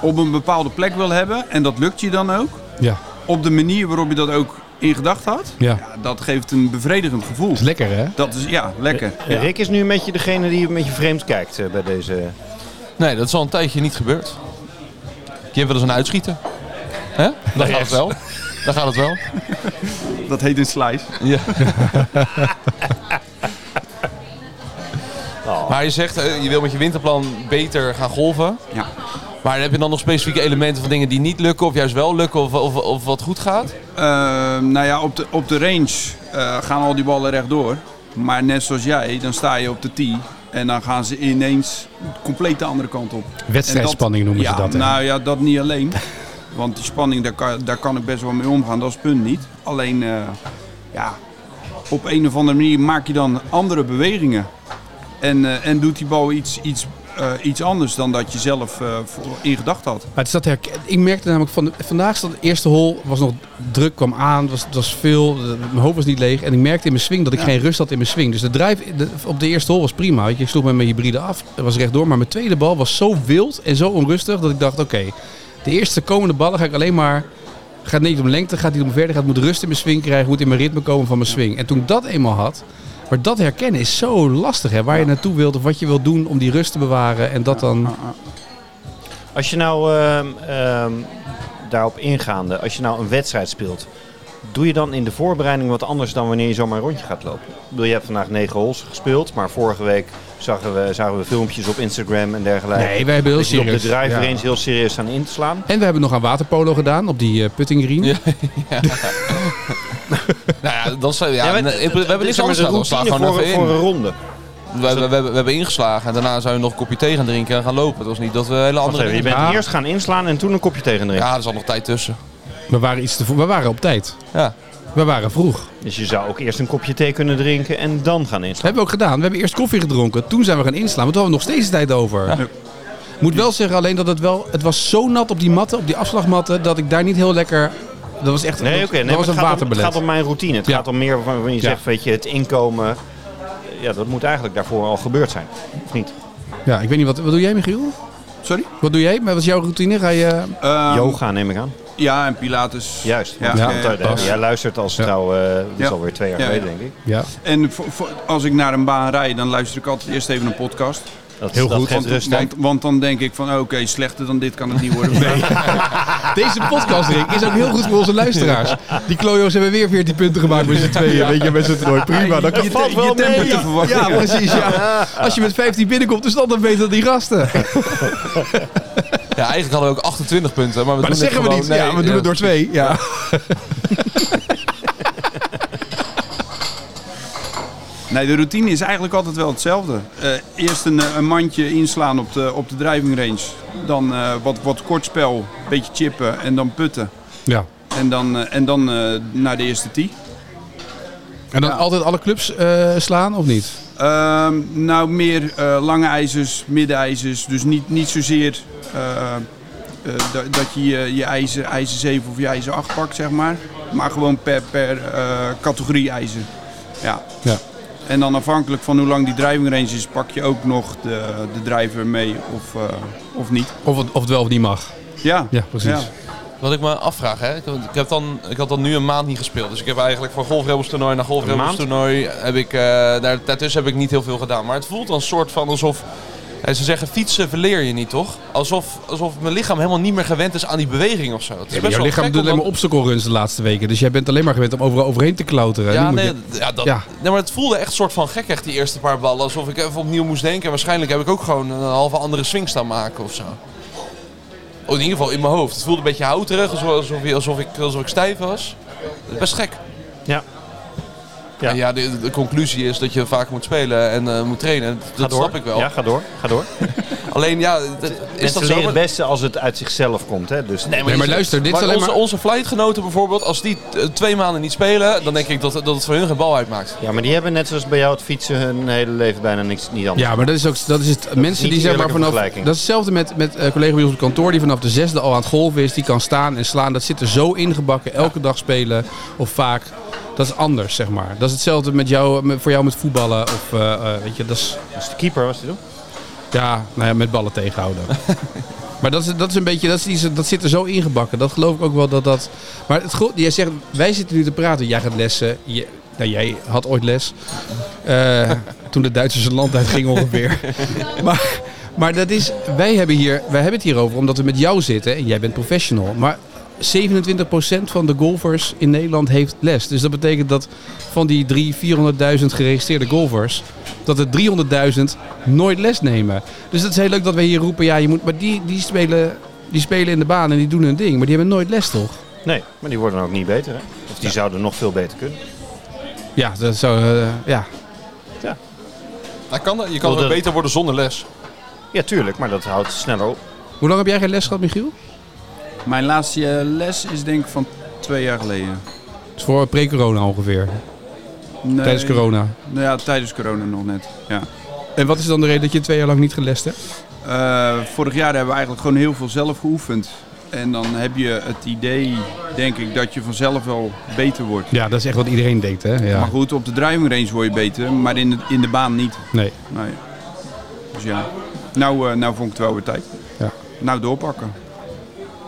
Speaker 4: op een bepaalde plek wil hebben. En dat lukt je dan ook.
Speaker 1: Ja,
Speaker 4: Op de manier waarop je dat ook in gedacht had.
Speaker 1: Ja.
Speaker 4: dat geeft een bevredigend gevoel.
Speaker 1: dat is lekker hè?
Speaker 4: Dat is, ja, lekker.
Speaker 3: Eh, Rick is nu een beetje degene die een beetje vreemd kijkt eh, bij deze.
Speaker 2: Nee, dat is al een tijdje niet gebeurd. Je hebt wel eens een uitschieter. Hè? Dan gaat het wel. Dan gaat het wel.
Speaker 4: Dat heet een slice.
Speaker 2: Ja. Maar je zegt, eh, je wil met je winterplan beter gaan golven.
Speaker 4: Ja.
Speaker 2: Maar heb je dan nog specifieke elementen van dingen die niet lukken of juist wel lukken of, of, of wat goed gaat?
Speaker 4: Ehm, nou ja, op de, op de range eh, gaan al die ballen rechtdoor. Maar net zoals jij, dan sta je op de tee. En dan gaan ze ineens compleet de andere kant op.
Speaker 1: Wedstrijdspanning
Speaker 4: En
Speaker 1: noemen ze
Speaker 4: ja,
Speaker 1: dat, hè?
Speaker 4: Nou ja, dat niet alleen. Want die spanning, daar kan, daar kan ik best wel mee omgaan. Dat is het punt niet. Alleen, eh, ja, op een of andere manier maak je dan andere bewegingen. En, eh, en doet die bal iets, iets, eh, iets anders dan dat je zelf eh, voor- in gedacht had.
Speaker 1: Maar het is dat herken- ik merkte namelijk van vandaag stond de eerste hol was nog druk kwam aan, het was, het was veel, de- mijn hoofd was niet leeg en ik merkte in mijn swing dat ik
Speaker 4: Ja.
Speaker 1: geen rust had in mijn swing. Dus de drive de- op de eerste hol was prima, weet je, ik sloeg met mijn hybride af, het was rechtdoor, maar mijn tweede bal was zo wild en zo onrustig dat ik dacht oké, De eerste komende ballen ga ik alleen maar... Gaat niet om lengte, gaat niet om verder. Gaat, moet rust in mijn swing krijgen, moet in mijn ritme komen van mijn swing. En toen ik dat eenmaal had... Maar dat herkennen is zo lastig, hè. Waar je naartoe wilt of wat je wilt doen om die rust te bewaren. En dat dan...
Speaker 3: Ah, Als je nou ehm, ehm, daarop ingaande, als je nou een wedstrijd speelt, doe je dan in de voorbereiding wat anders dan wanneer je zomaar een rondje gaat lopen? Ik bedoel, je hebt vandaag negen holes gespeeld, maar vorige week zagen we, zagen we filmpjes op Instagram en dergelijke.
Speaker 1: Nee, wij hebben heel
Speaker 3: dat je op de
Speaker 1: serieus.
Speaker 3: driver
Speaker 1: Ja.
Speaker 3: eens heel serieus aan in te slaan.
Speaker 1: En we hebben nog aan waterpolo gedaan op die eh, putting green.
Speaker 2: Ja. Nou ja, dan zou, ja,
Speaker 3: Ja, maar
Speaker 2: nee,
Speaker 3: het-
Speaker 2: ik- we
Speaker 3: het-
Speaker 2: hebben niks
Speaker 3: het
Speaker 2: anders
Speaker 3: is
Speaker 2: gedaan.
Speaker 3: een
Speaker 2: We slaan
Speaker 3: routine voor,
Speaker 2: gewoon even
Speaker 3: voor
Speaker 2: in.
Speaker 3: een ronde.
Speaker 2: We, we, we, we hebben ingeslagen en daarna zijn we nog een kopje thee gaan drinken en gaan lopen. Het was niet dat we hele
Speaker 3: Wacht
Speaker 2: andere
Speaker 3: even, je
Speaker 2: dingen...
Speaker 3: bent
Speaker 1: Ja.
Speaker 3: eerst gaan inslaan en toen een kopje tegen drinken.
Speaker 2: Ja, er zat nog tijd tussen.
Speaker 1: We waren, iets te vro- we waren op tijd.
Speaker 2: Ja.
Speaker 1: We waren vroeg.
Speaker 3: Dus je zou ook eerst een kopje thee kunnen drinken en dan gaan
Speaker 1: Dat
Speaker 3: inslaan.
Speaker 1: hebben we ook gedaan. We hebben eerst koffie gedronken. Toen zijn we gaan inslaan. Want toen hadden we nog steeds de tijd over.
Speaker 4: Ja.
Speaker 1: Moet wel zeggen alleen dat het wel... Het was zo nat op die matten, op die afslagmatten... dat ik daar niet heel lekker... Dat was echt
Speaker 3: Nee,
Speaker 1: dat,
Speaker 3: oké. nee,
Speaker 1: dat
Speaker 3: maar
Speaker 1: was een
Speaker 3: het, gaat om, het
Speaker 1: waterbelet.
Speaker 3: gaat om mijn routine. Het
Speaker 1: Ja.
Speaker 3: gaat om meer van van je
Speaker 1: Ja.
Speaker 3: zegt, weet je, het inkomen. Ja, dat moet eigenlijk daarvoor al gebeurd zijn. Of niet?
Speaker 1: Ja, ik weet niet. Wat, wat doe jij, Michiel?
Speaker 4: Sorry?
Speaker 1: Wat doe jij? Wat is jouw routine? Ga je...
Speaker 4: Ehm,
Speaker 3: Yoga neem ik aan.
Speaker 4: Ja, en Pilates.
Speaker 3: Juist.
Speaker 4: Ja,
Speaker 1: Ja.
Speaker 4: eh,
Speaker 3: Want, eh,
Speaker 1: pas.
Speaker 3: jij luistert als trouw, eh dat is
Speaker 4: Ja.
Speaker 3: alweer twee jaar
Speaker 4: Ja, ja.
Speaker 3: geleden, denk ik.
Speaker 1: Ja.
Speaker 4: En voor- voor- als ik naar een baan rijd, dan luister ik altijd eerst even een podcast.
Speaker 3: Dat,
Speaker 1: Heel
Speaker 3: dat
Speaker 1: goed,
Speaker 3: geeft
Speaker 4: Want,
Speaker 3: rust.
Speaker 4: want, want dan denk ik van, oh, oké, slechter dan dit kan het niet worden. Nee.
Speaker 1: Deze podcast Rick, is ook heel goed voor onze luisteraars. Die klojo's hebben weer 14 punten gemaakt met z'n tweeën. Weet je, met z'n toernooi. Prima. Dan
Speaker 4: je,
Speaker 3: valt
Speaker 4: te-
Speaker 3: wel
Speaker 4: je temper
Speaker 3: mee,
Speaker 4: te
Speaker 3: ja.
Speaker 4: verwachten.
Speaker 1: Ja, precies. Ja. Als je met 15 binnenkomt, is dat dan beter dan die gasten.
Speaker 2: ja, eigenlijk hadden we ook 28 punten. Maar, we
Speaker 1: Maar dat
Speaker 2: doen dit
Speaker 1: zeggen we
Speaker 2: gewoon-
Speaker 1: niet.
Speaker 2: nee, eh,
Speaker 1: ja, we doen het door twee. Ja.
Speaker 4: Nee, de routine is eigenlijk altijd wel hetzelfde. Eh, eerst een, eh, een mandje inslaan op de, op de driving range. Dan eh, wat, wat kort spel, een beetje chippen en dan putten.
Speaker 1: ja.
Speaker 4: En dan, eh, en dan eh, naar de eerste tee.
Speaker 1: En dan altijd alle clubs eh, slaan, of niet?
Speaker 4: Ehm, nou, meer eh, lange ijzers, middenijzers. Dus niet, niet zozeer eh, eh, da- dat je je, je ijzer, ijzer 7 of je ijzer 8 pakt, zeg maar. Maar gewoon per, per eh, categorie ijzer. Ja.
Speaker 1: Ja.
Speaker 4: En dan afhankelijk van hoe lang die driving range is, pak je ook nog de, de driver mee of, eh, of niet.
Speaker 1: Of het, of het wel of niet mag.
Speaker 4: Ja,
Speaker 1: Ja, precies.
Speaker 4: Ja.
Speaker 2: Wat ik me afvraag, hè? Ik, ik heb dan, ik had dan nu een maand niet gespeeld. Dus ik heb eigenlijk van golfrebels toernooi naar golfrebels
Speaker 3: maand?
Speaker 2: toernooi. Heb ik, eh, daar, daartussen heb ik niet heel veel gedaan. Maar het voelt dan een soort van alsof. eh, ze zeggen fietsen verleer je niet, toch? Alsof, alsof mijn lichaam helemaal niet meer gewend is aan die beweging of zo. Het is best
Speaker 1: jouw
Speaker 2: wel
Speaker 1: lichaam
Speaker 2: gek
Speaker 1: doet
Speaker 2: om
Speaker 1: alleen maar
Speaker 2: dan-
Speaker 1: obstacle runs de laatste weken. Dus jij bent alleen maar gewend om overal overheen te klauteren. Nu
Speaker 2: Ja,
Speaker 1: moet
Speaker 2: nee,
Speaker 1: je-
Speaker 2: d- ja, dat,
Speaker 1: Ja.
Speaker 2: nee, maar het voelde echt soort van gek, echt die eerste paar ballen. Alsof ik even opnieuw moest denken. En waarschijnlijk heb ik ook gewoon een halve andere swing staan maken of zo. Oh, in ieder geval in mijn hoofd. Het voelde een beetje houterig, alsof, alsof, ik- alsof, ik, alsof ik stijf was. Dat is best gek.
Speaker 3: Ja.
Speaker 2: Ja,
Speaker 3: Ja.
Speaker 2: ja de, de conclusie is dat je vaak moet spelen en eh, moet trainen. Dat
Speaker 3: Ga door.
Speaker 2: snap ik wel.
Speaker 3: Ja, ga door. Ga door.
Speaker 2: Alleen ja, d- is
Speaker 3: Mensen
Speaker 2: dat
Speaker 3: leren
Speaker 2: zo?
Speaker 3: het
Speaker 2: Maar-
Speaker 3: beste als het uit zichzelf komt. Hè? Dus
Speaker 1: Nee, maar
Speaker 2: je-
Speaker 1: luister, dit is
Speaker 2: maar
Speaker 1: alleen
Speaker 2: onze,
Speaker 1: maar-
Speaker 2: onze flightgenoten bijvoorbeeld, als die eh, twee maanden niet spelen, dan denk ik dat, dat het voor hun geen bal uitmaakt.
Speaker 3: Ja, maar die hebben net zoals bij jou het fietsen hun hele leven bijna niks niet anders.
Speaker 1: Ja, maar dat is ook dat is het. mensen
Speaker 3: niet
Speaker 1: die zeg maar vanaf.
Speaker 3: eerlijke
Speaker 1: Dat is
Speaker 3: vergelijking.
Speaker 1: hetzelfde met, met eh collega bij ons op het kantoor die vanaf de zesde al aan het golven is. Die kan staan en slaan. Dat zit er zo ingebakken. Elke dag spelen of vaak. Dat is anders, zeg maar. Dat is hetzelfde met jou, met- voor jou met voetballen. Of eh, eh, weet je, dat is.
Speaker 3: Als Dus de keeper was die doen.
Speaker 1: Ja, nou ja, met ballen tegenhouden. maar dat is, dat is een beetje, dat, is iets, dat zit er zo ingebakken. Dat geloof ik ook wel dat dat... Maar het, gro- jij zegt, wij zitten nu te praten. Jij gaat lessen. Je, nou, jij had ooit les. Eh, toen de Duitsers het land uitgingen ongeveer. maar, maar dat is, wij hebben, hier, wij hebben het hierover omdat we met jou zitten. En jij bent professional. Maar 27% van de golfers in Nederland heeft les. Dus dat betekent dat van die 300.000, 400.000 geregistreerde golfers... dat er 300.000 nooit les nemen. Dus dat is heel leuk dat wij hier roepen... ja, je moet, maar die, die, spelen, die spelen in de baan en die doen hun ding. Maar die hebben nooit les, toch?
Speaker 3: Nee, maar die worden ook niet beter. Hè? Of die zouden nog veel beter kunnen.
Speaker 1: Ja, dat zou... eh, ja.
Speaker 2: Nou, kan, dat- je kan
Speaker 3: Wil
Speaker 2: ook
Speaker 3: dat-
Speaker 2: beter worden zonder les.
Speaker 3: Ja, tuurlijk, maar dat houdt sneller op.
Speaker 1: Hoe lang heb jij geen les gehad, Michiel?
Speaker 4: Mijn laatste eh, les is denk ik van twee jaar geleden.
Speaker 1: Dat is voor pre-corona ongeveer.
Speaker 4: Nee,
Speaker 1: Tijdens corona.
Speaker 4: Nou ja, tijdens corona nog net. Ja.
Speaker 1: En wat is dan de reden dat je twee jaar lang niet gelest hebt?
Speaker 4: Eh, vorig jaar hebben we eigenlijk gewoon heel veel zelf geoefend. En dan heb je het idee, denk ik, dat je vanzelf wel beter wordt.
Speaker 1: Ja, dat is echt wat iedereen deed, hè?
Speaker 4: Maar goed, op de driving range word je beter, maar in de, in de baan niet.
Speaker 1: Nee.
Speaker 4: Nee. Dus ja, nou, eh, nou vond ik het wel weer tijd.
Speaker 1: Ja.
Speaker 4: Nou doorpakken.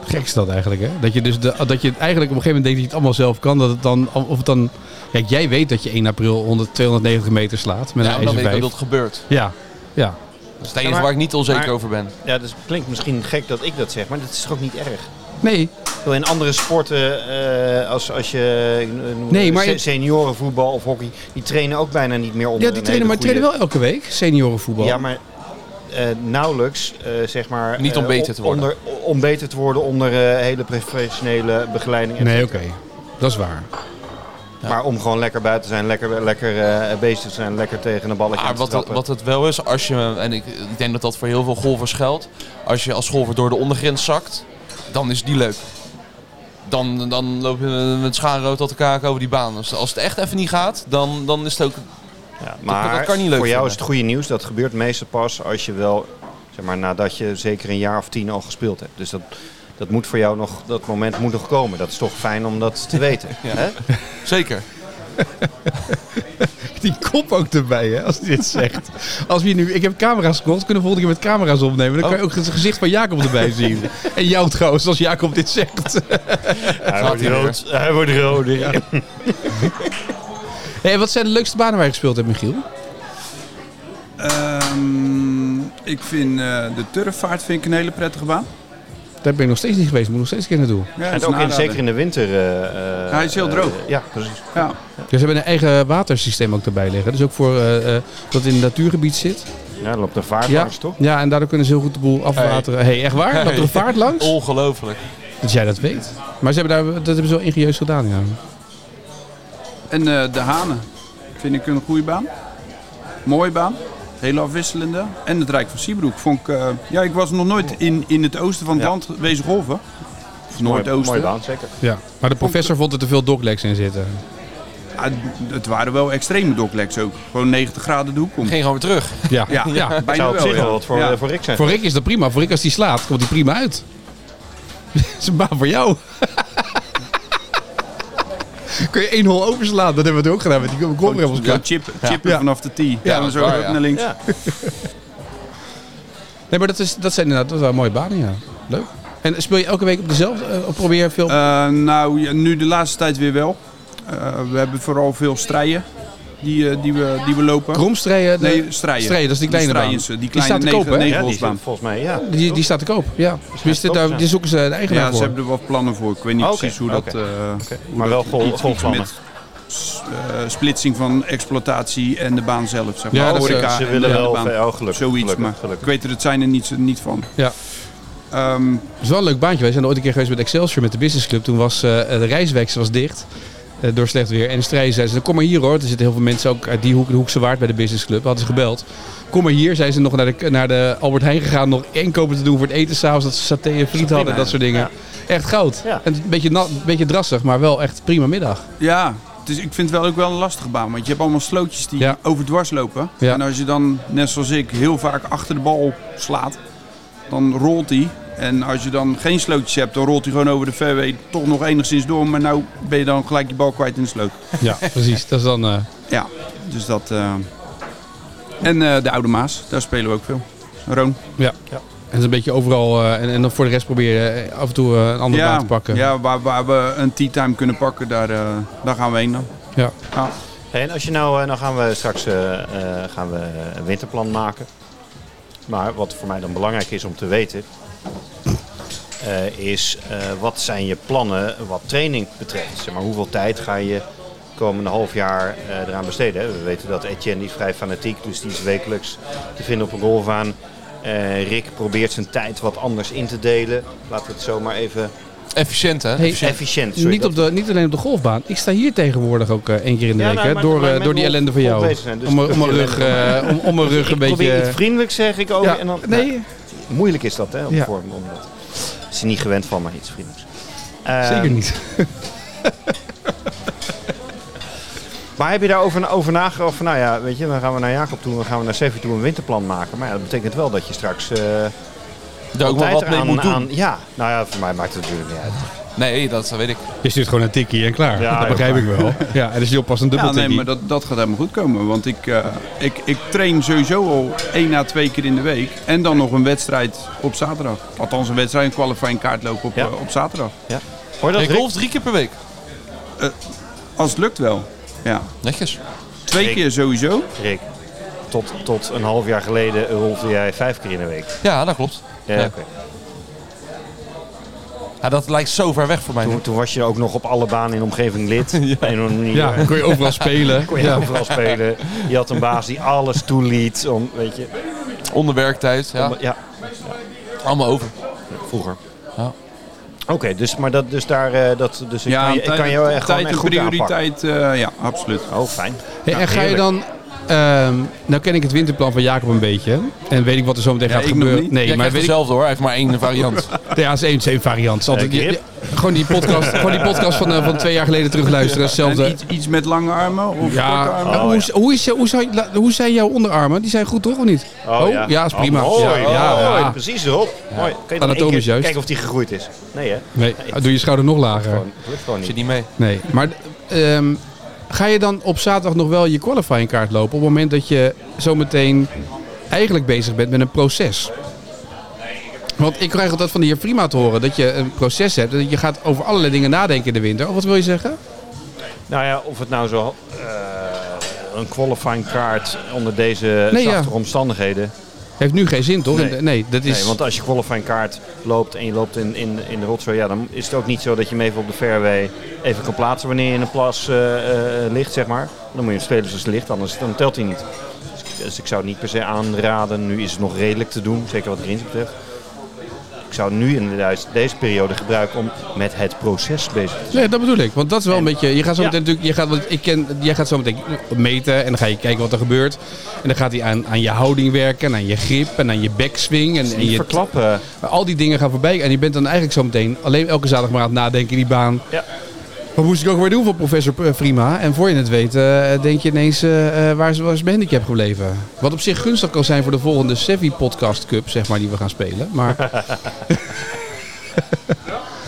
Speaker 1: Gek is dat eigenlijk, hè? Dat je, dus de, dat je eigenlijk op een gegeven moment denkt dat je het allemaal zelf kan. Dat het dan, of het dan, kijk, jij weet dat je 1 april 100, 290 meter slaat met
Speaker 2: Ja,
Speaker 1: een
Speaker 2: maar dan
Speaker 1: ijzer
Speaker 2: weet ik ook
Speaker 1: 5.
Speaker 2: dat het gebeurt.
Speaker 1: Ja, ja.
Speaker 2: Dat is het enige
Speaker 3: maar-
Speaker 2: waar ik niet onzeker
Speaker 3: maar-
Speaker 2: over ben.
Speaker 3: Ja, dat klinkt misschien gek dat ik dat zeg, maar dat is toch ook niet erg?
Speaker 1: Nee,
Speaker 3: Ik bedoel, In andere sporten, eh, als, als je ik noem-
Speaker 1: Nee, maar
Speaker 3: se-
Speaker 1: je-
Speaker 3: seniorenvoetbal of hockey, die trainen ook bijna niet meer onder
Speaker 1: ja, die
Speaker 3: een
Speaker 1: trainen, maar
Speaker 3: hele
Speaker 1: trainen
Speaker 3: goede-
Speaker 1: wel elke week, seniorenvoetbal.
Speaker 3: Ja, maar eh, nauwelijks, eh, zeg maar...
Speaker 2: Niet
Speaker 3: eh,
Speaker 2: om beter te worden.
Speaker 3: Onder, om beter te worden onder eh, hele professionele begeleiding. en
Speaker 1: nee,
Speaker 3: zo.
Speaker 1: oké. Dat is waar.
Speaker 3: Maar om gewoon lekker buiten te zijn, lekker, lekker eh, bezig te zijn, lekker tegen een balletje aan
Speaker 2: Maar
Speaker 3: te
Speaker 2: Ah, wat het,
Speaker 3: trappen.
Speaker 2: wat het wel is, als je, en ik, ik denk dat dat voor heel veel golfers geldt, als je als golfer door de ondergrens zakt, dan is die leuk. Dan, dan loop je met schaamrood tot de kaak over die baan. Dus als het echt even niet gaat, dan, dan is het ook...
Speaker 3: Ja,
Speaker 2: dat
Speaker 3: maar
Speaker 2: kan ik niet leuk
Speaker 3: voor jou
Speaker 2: vinden.
Speaker 3: is het goede nieuws, dat gebeurt meestal pas als je wel, zeg maar nadat je zeker een jaar of tien al gespeeld hebt. Dus dat, dat moet voor jou nog, dat moment moet nog komen. Dat is toch fijn om dat te
Speaker 2: <laughs>
Speaker 3: weten. hè?
Speaker 2: Zeker.
Speaker 1: Die kop ook erbij, hè, als hij <laughs> dit zegt. Als we hier nu, ik heb camera's gekocht, kunnen we volgende keer met camera's opnemen. Dan kan je ook het gezicht van Jacob <laughs> erbij zien. En jou trouwens, als Jacob dit zegt.
Speaker 3: Hij
Speaker 2: wordt rood,
Speaker 3: hij wordt rood.
Speaker 1: <laughs> Hey, wat zijn de leukste banen waar je gespeeld hebt, Michiel?
Speaker 4: Ehm, ik vind eh, de turfvaart vind ik een hele prettige baan.
Speaker 1: Daar ben ik nog steeds niet geweest, moet nog steeds een keer naartoe.
Speaker 4: Ja, dat
Speaker 3: En
Speaker 4: is
Speaker 3: ook
Speaker 4: een
Speaker 3: in,
Speaker 4: aanrader.
Speaker 3: zeker in de winter. eh, eh,
Speaker 4: Hij is heel
Speaker 3: eh,
Speaker 4: droog.
Speaker 3: ja, precies.
Speaker 4: Ja.
Speaker 1: Dus ze hebben een eigen watersysteem ook erbij liggen. Dus ook voor eh, eh, dat in het natuurgebied zit.
Speaker 3: Ja, dan loopt een vaart
Speaker 1: Ja,
Speaker 3: langs, toch?
Speaker 1: ja, en daardoor kunnen ze heel goed de boel afwateren. Hé, hey, Oh. echt waar? Loopt er een vaart langs?
Speaker 2: Ongelooflijk.
Speaker 1: Dat jij dat weet. Maar ze hebben daar, dat hebben ze wel ingenieus gedaan, ja.
Speaker 4: En eh, de hanen vind ik een goede baan. Mooie baan. Heel afwisselende. En het Rijk van Siebroek vond ik... eh, ja, ik was nog nooit in, in het oosten van het
Speaker 3: Ja.
Speaker 4: land wezen golven. Of Noordoosten.
Speaker 3: Mooi baan, zeker.
Speaker 1: ja. Maar de professor vond er te veel dogleks in zitten.
Speaker 4: Ah, d- het waren wel extreme dokleks ook. Gewoon 90 graden de hoek om.
Speaker 2: Ging gewoon weer terug.
Speaker 1: Ja, <laughs> ja.
Speaker 4: Bijna
Speaker 3: Zou op
Speaker 4: wel,
Speaker 3: zich
Speaker 4: ja.
Speaker 3: wel wat voor,
Speaker 4: Ja.
Speaker 3: eh, voor Rick zijn.
Speaker 1: Voor Rick is dat prima. Voor Rick als die slaat, komt die prima uit. <laughs> Dat is een baan voor jou. <laughs> Kun je één hol overslaan? Dat hebben we het ook gedaan met die
Speaker 4: Gewoon
Speaker 1: Gombremmels
Speaker 4: gewoon chip, chippen
Speaker 1: Ja.
Speaker 4: vanaf de tee. Ja,
Speaker 2: dat
Speaker 4: dan
Speaker 2: is
Speaker 4: zo
Speaker 2: waar,
Speaker 4: ook
Speaker 2: ja.
Speaker 4: naar links.
Speaker 3: Ja.
Speaker 1: Nee, maar dat, is, dat zijn inderdaad dat waren mooie banen, ja. Leuk. En speel je elke week op dezelfde? eh, Of probeer je veel...
Speaker 4: Eh, nou, ja, nu de laatste tijd weer wel. Eh, we hebben vooral veel strijden die, eh, die, we, die we lopen.
Speaker 1: Kromstrijden? de-
Speaker 4: Nee, strijden.
Speaker 1: Strijden, dat is die kleine baan.
Speaker 4: strijden, Die kleine
Speaker 1: staat te koop,
Speaker 4: negen,
Speaker 1: hè?
Speaker 3: Ja, die
Speaker 4: negenholsbaan.
Speaker 3: zit volgens mij, ja.
Speaker 1: Die, die staat te koop, ja. Dus dit- daar, die zoeken ze een eigenaar
Speaker 4: Ja, ze
Speaker 1: voor.
Speaker 4: hebben er wat plannen voor. Ik weet niet
Speaker 3: Ah, Oké,
Speaker 4: precies hoe dat...
Speaker 3: oké.
Speaker 4: eh, hoe
Speaker 3: Maar wel
Speaker 4: dat
Speaker 3: gol-
Speaker 4: iets- iets
Speaker 3: golfplannen.
Speaker 4: met s- eh, splitsing van exploitatie en de baan zelf, zeg maar.
Speaker 1: Ja, dat ze-
Speaker 4: Horeca
Speaker 3: eh, Ze
Speaker 4: en
Speaker 3: willen
Speaker 4: de
Speaker 3: wel...
Speaker 4: baan.
Speaker 3: Oh, gelukkig.
Speaker 4: Zoiets,
Speaker 3: gelukkig,
Speaker 4: maar ik
Speaker 3: gelukkig.
Speaker 4: weet er het zijn er niet, niet van.
Speaker 1: Ja.
Speaker 4: Ehm,
Speaker 1: Het is wel een leuk baantje. Wij zijn er ooit een keer geweest met Excelsior, met de businessclub. Toen was eh, de reisweg ze was dicht eh, door slecht weer. En de strijden zeiden ze, kom maar hier hoor. Er zitten heel veel mensen ook uit die hoek, de Hoekse Waard bij de businessclub. Hadden ze gebeld. Kom maar hier. Zijn ze nog naar de, naar de Albert Heijn gegaan, nog inkopen te doen voor het eten s'avonds. Dat ze saté en friet hadden, en dat soort dingen. Echt goud.
Speaker 3: Ja.
Speaker 1: En een beetje, nat, een beetje drassig, maar wel echt prima middag.
Speaker 4: Ja, dus ik vind het wel ook wel een lastige baan. Want je hebt allemaal slootjes die
Speaker 1: Ja.
Speaker 4: overdwars lopen.
Speaker 1: Ja.
Speaker 4: En als je dan, net zoals ik, heel vaak achter de bal slaat, dan rolt hij. En als je dan geen slootjes hebt, dan rolt hij gewoon over de fairway toch nog enigszins door. Maar nou ben je dan gelijk je bal kwijt in de sloot.
Speaker 1: Ja, precies. Dat is dan... eh,
Speaker 4: Ja, dus dat... eh. En eh, de Oude Maas, daar spelen we ook veel. Roon.
Speaker 1: en dat is een beetje overal. eh, en, en dan voor de rest proberen eh, af en toe eh, een andere baan te pakken.
Speaker 4: ja waar, waar we een tea time kunnen pakken, daar, eh, daar gaan we heen dan.
Speaker 1: Ja.
Speaker 4: Ja.
Speaker 3: Hey, en als je nou, eh, nou gaan we straks eh, eh, gaan we een winterplan maken. Maar wat voor mij dan belangrijk is om te weten, eh, is eh, wat zijn je plannen wat training betreft? Zeg maar, hoeveel tijd ga je komende half jaar eh, eraan besteden? hè? We weten dat Etienne die is vrij fanatiek, dus die is wekelijks te vinden op een golfbaan. Eh, Rick probeert zijn tijd wat anders in te delen. Laten we het zomaar even
Speaker 2: Efficiënt, hè?
Speaker 1: Hey,
Speaker 2: Efficiënt.
Speaker 3: efficiënt. sorry,
Speaker 1: Niet,
Speaker 3: dat-
Speaker 1: op de, niet alleen op de golfbaan. Ik sta hier tegenwoordig ook eh, één keer in de
Speaker 3: Ja,
Speaker 1: week.
Speaker 3: nou,
Speaker 1: hè,
Speaker 3: maar-
Speaker 1: door,
Speaker 3: maar
Speaker 1: eh,
Speaker 3: met
Speaker 1: door die
Speaker 3: golf-
Speaker 1: ellende van
Speaker 3: golf
Speaker 1: jou.
Speaker 3: bezig zijn, dus
Speaker 1: om,
Speaker 3: dat
Speaker 1: om, mijn
Speaker 3: is
Speaker 1: rug, eh, om, om mijn rug een
Speaker 3: Ik probeer
Speaker 1: beetje... eh,
Speaker 3: iets vriendelijks, zeg ik ook.
Speaker 1: Ja,
Speaker 3: en dan,
Speaker 1: nee.
Speaker 3: nou, moeilijk is dat, hè? Om,
Speaker 1: Ja.
Speaker 3: voor, om dat. Is hij niet gewend van, maar iets vriendelijks. Eh,
Speaker 1: Zeker niet.
Speaker 3: Maar heb je daarover over nagedacht? Van, nou ja, weet je, dan gaan we naar Jacob toe, dan gaan we naar Sevi toe een winterplan maken. Maar ja, dat betekent wel dat je straks eh
Speaker 2: Daar ook wel
Speaker 3: tijd
Speaker 2: wat mee
Speaker 3: eraan-
Speaker 2: moet doen.
Speaker 3: aan- ja, nou ja, voor mij maakt het natuurlijk niet uit.
Speaker 2: Nee, dat, dat weet ik.
Speaker 1: Je stuurt gewoon een tikkie en klaar.
Speaker 3: Ja,
Speaker 1: dat
Speaker 3: joh,
Speaker 1: begrijp ik wel. Ja, en dus je oppast een dubbel
Speaker 4: Ja,
Speaker 1: tikkie.
Speaker 4: nee, maar dat, dat gaat helemaal goed komen. Want ik, eh, ik, ik train sowieso al één à twee keer in de week. En dan nog een wedstrijd op zaterdag. Althans, een wedstrijd, een qualifying kaartloop op,
Speaker 3: Ja.
Speaker 4: eh, op zaterdag.
Speaker 3: Hoor je dat,
Speaker 2: Ik
Speaker 3: Rick?
Speaker 2: golf drie keer per week.
Speaker 4: Als het lukt wel. Ja.
Speaker 2: Netjes.
Speaker 4: Twee
Speaker 3: Ik-
Speaker 4: keer sowieso.
Speaker 3: Rick, tot, tot een half jaar geleden rolde jij vijf keer in de week.
Speaker 2: Ja, dat klopt.
Speaker 3: Ja,
Speaker 2: Ja.
Speaker 3: oké.
Speaker 2: Ja, dat lijkt zo ver weg voor mij. nu.
Speaker 3: toen, toen was je ook nog op alle banen in de omgeving
Speaker 2: <laughs>
Speaker 3: lid. Op een of andere manier.
Speaker 1: Ja, dan kon je overal
Speaker 3: <laughs>
Speaker 1: spelen.
Speaker 3: Kon je
Speaker 1: Ja.
Speaker 3: overal spelen. Je had een baas die alles toeliet. Om, weet je,
Speaker 2: Onder werktijd. Ja.
Speaker 3: om- ja,
Speaker 2: Allemaal over.
Speaker 3: vroeger.
Speaker 2: Ja.
Speaker 3: Oké, dus, maar dat, dus daar, eh, dat, dus ik
Speaker 4: ja,
Speaker 3: kan je, ik kan je eh, gewoon
Speaker 4: tijd
Speaker 3: echt
Speaker 4: en
Speaker 3: goed aanpakken.
Speaker 4: prioriteit. eh, ja, absoluut.
Speaker 3: Oh, fijn.
Speaker 1: Hey, en ga je
Speaker 3: heerlijk.
Speaker 1: dan... ehm, nou ken ik het winterplan van Jacob een beetje. En weet ik wat er zo meteen
Speaker 4: Ja,
Speaker 1: gaat
Speaker 4: ik nog
Speaker 1: gebeuren.
Speaker 4: niet.
Speaker 1: Nee,
Speaker 2: Jij
Speaker 1: maar
Speaker 2: krijgt
Speaker 1: weet ik,
Speaker 2: hetzelfde hoor. Hij heeft maar één variant.
Speaker 1: Ja, het is één, één variant. Het is Altijd,
Speaker 3: Eh, grip.
Speaker 1: je- je- gewoon die podcast, gewoon die podcast van, eh, van twee jaar geleden terugluisteren. Dat is
Speaker 4: En
Speaker 1: Hetzelfde.
Speaker 4: iets, iets met lange armen of korte
Speaker 1: Ja,
Speaker 4: armen.
Speaker 1: nou, hoe, is- hoe, is, hoe, zijn, la- hoe zijn jouw onderarmen? Die zijn goed toch of niet? is prima.
Speaker 3: Oh,
Speaker 1: ja,
Speaker 3: mooi.
Speaker 1: ja,
Speaker 3: Oh,
Speaker 1: ja.
Speaker 3: Precies erop. Mooi. Kan je nog één
Speaker 1: Anatomisch
Speaker 3: keer
Speaker 1: juist.
Speaker 3: kijken of die gegroeid is? Nee, hè?
Speaker 1: Nee, doe je schouder nog lager.
Speaker 3: Gewoon, dat lukt gewoon
Speaker 2: Zit
Speaker 3: niet.
Speaker 2: niet mee.
Speaker 1: Nee, maar ehm, ga je dan op zaterdag nog wel je qualifying kaart lopen? Op het moment dat je zometeen eigenlijk bezig bent met een proces. Want ik krijg altijd van de heer Prima te horen dat je een proces hebt. Dat je gaat over allerlei dingen nadenken in de winter. Of wat wil je zeggen?
Speaker 3: Nou ja, of het nou zo eh, een qualifying kaart onder deze
Speaker 1: Nee,
Speaker 3: zachtere
Speaker 1: ja.
Speaker 3: omstandigheden.
Speaker 1: Heeft nu geen zin, toch?
Speaker 3: Nee.
Speaker 1: In de- nee dat is...
Speaker 3: Nee, want als je qualifying kaart loopt en je loopt in, in, in de rotzooi, ja, dan is het ook niet zo dat je hem even op de fairway even kan plaatsen wanneer je in een plas eh, eh, ligt, zeg maar. Dan moet je hem spelen zoals het ligt, anders dan telt hij niet. Dus, ik- dus ik zou het niet per se aanraden. Nu is het nog redelijk te doen, zeker wat greens betreft. Ik zou het nu inderdaad deze periode gebruiken om met het proces bezig te zijn.
Speaker 1: Nee, dat bedoel ik. Want dat is wel een beetje. Je gaat zo
Speaker 3: Ja.
Speaker 1: meteen natuurlijk. Je gaat, want ik ken, jij gaat zo meteen meten en dan ga je kijken wat er gebeurt. En dan gaat hij aan, aan je houding werken, en aan je grip en aan je backswing. En, en
Speaker 3: Niet
Speaker 1: je,
Speaker 3: verklappen.
Speaker 1: al die dingen gaan voorbij. En je bent dan eigenlijk zo meteen alleen elke zaterdag maar aan het nadenken in die baan.
Speaker 3: Ja.
Speaker 1: Wat moest ik ook weer doen voor professor eh, Prima? En voor je het weet, eh, denk je ineens eh, eh, waar, is, waar is mijn handicap gebleven? Wat op zich gunstig kan zijn voor de volgende Sevi Podcast Cup, zeg maar, die we gaan spelen.
Speaker 3: <laughs>
Speaker 1: Maar, maar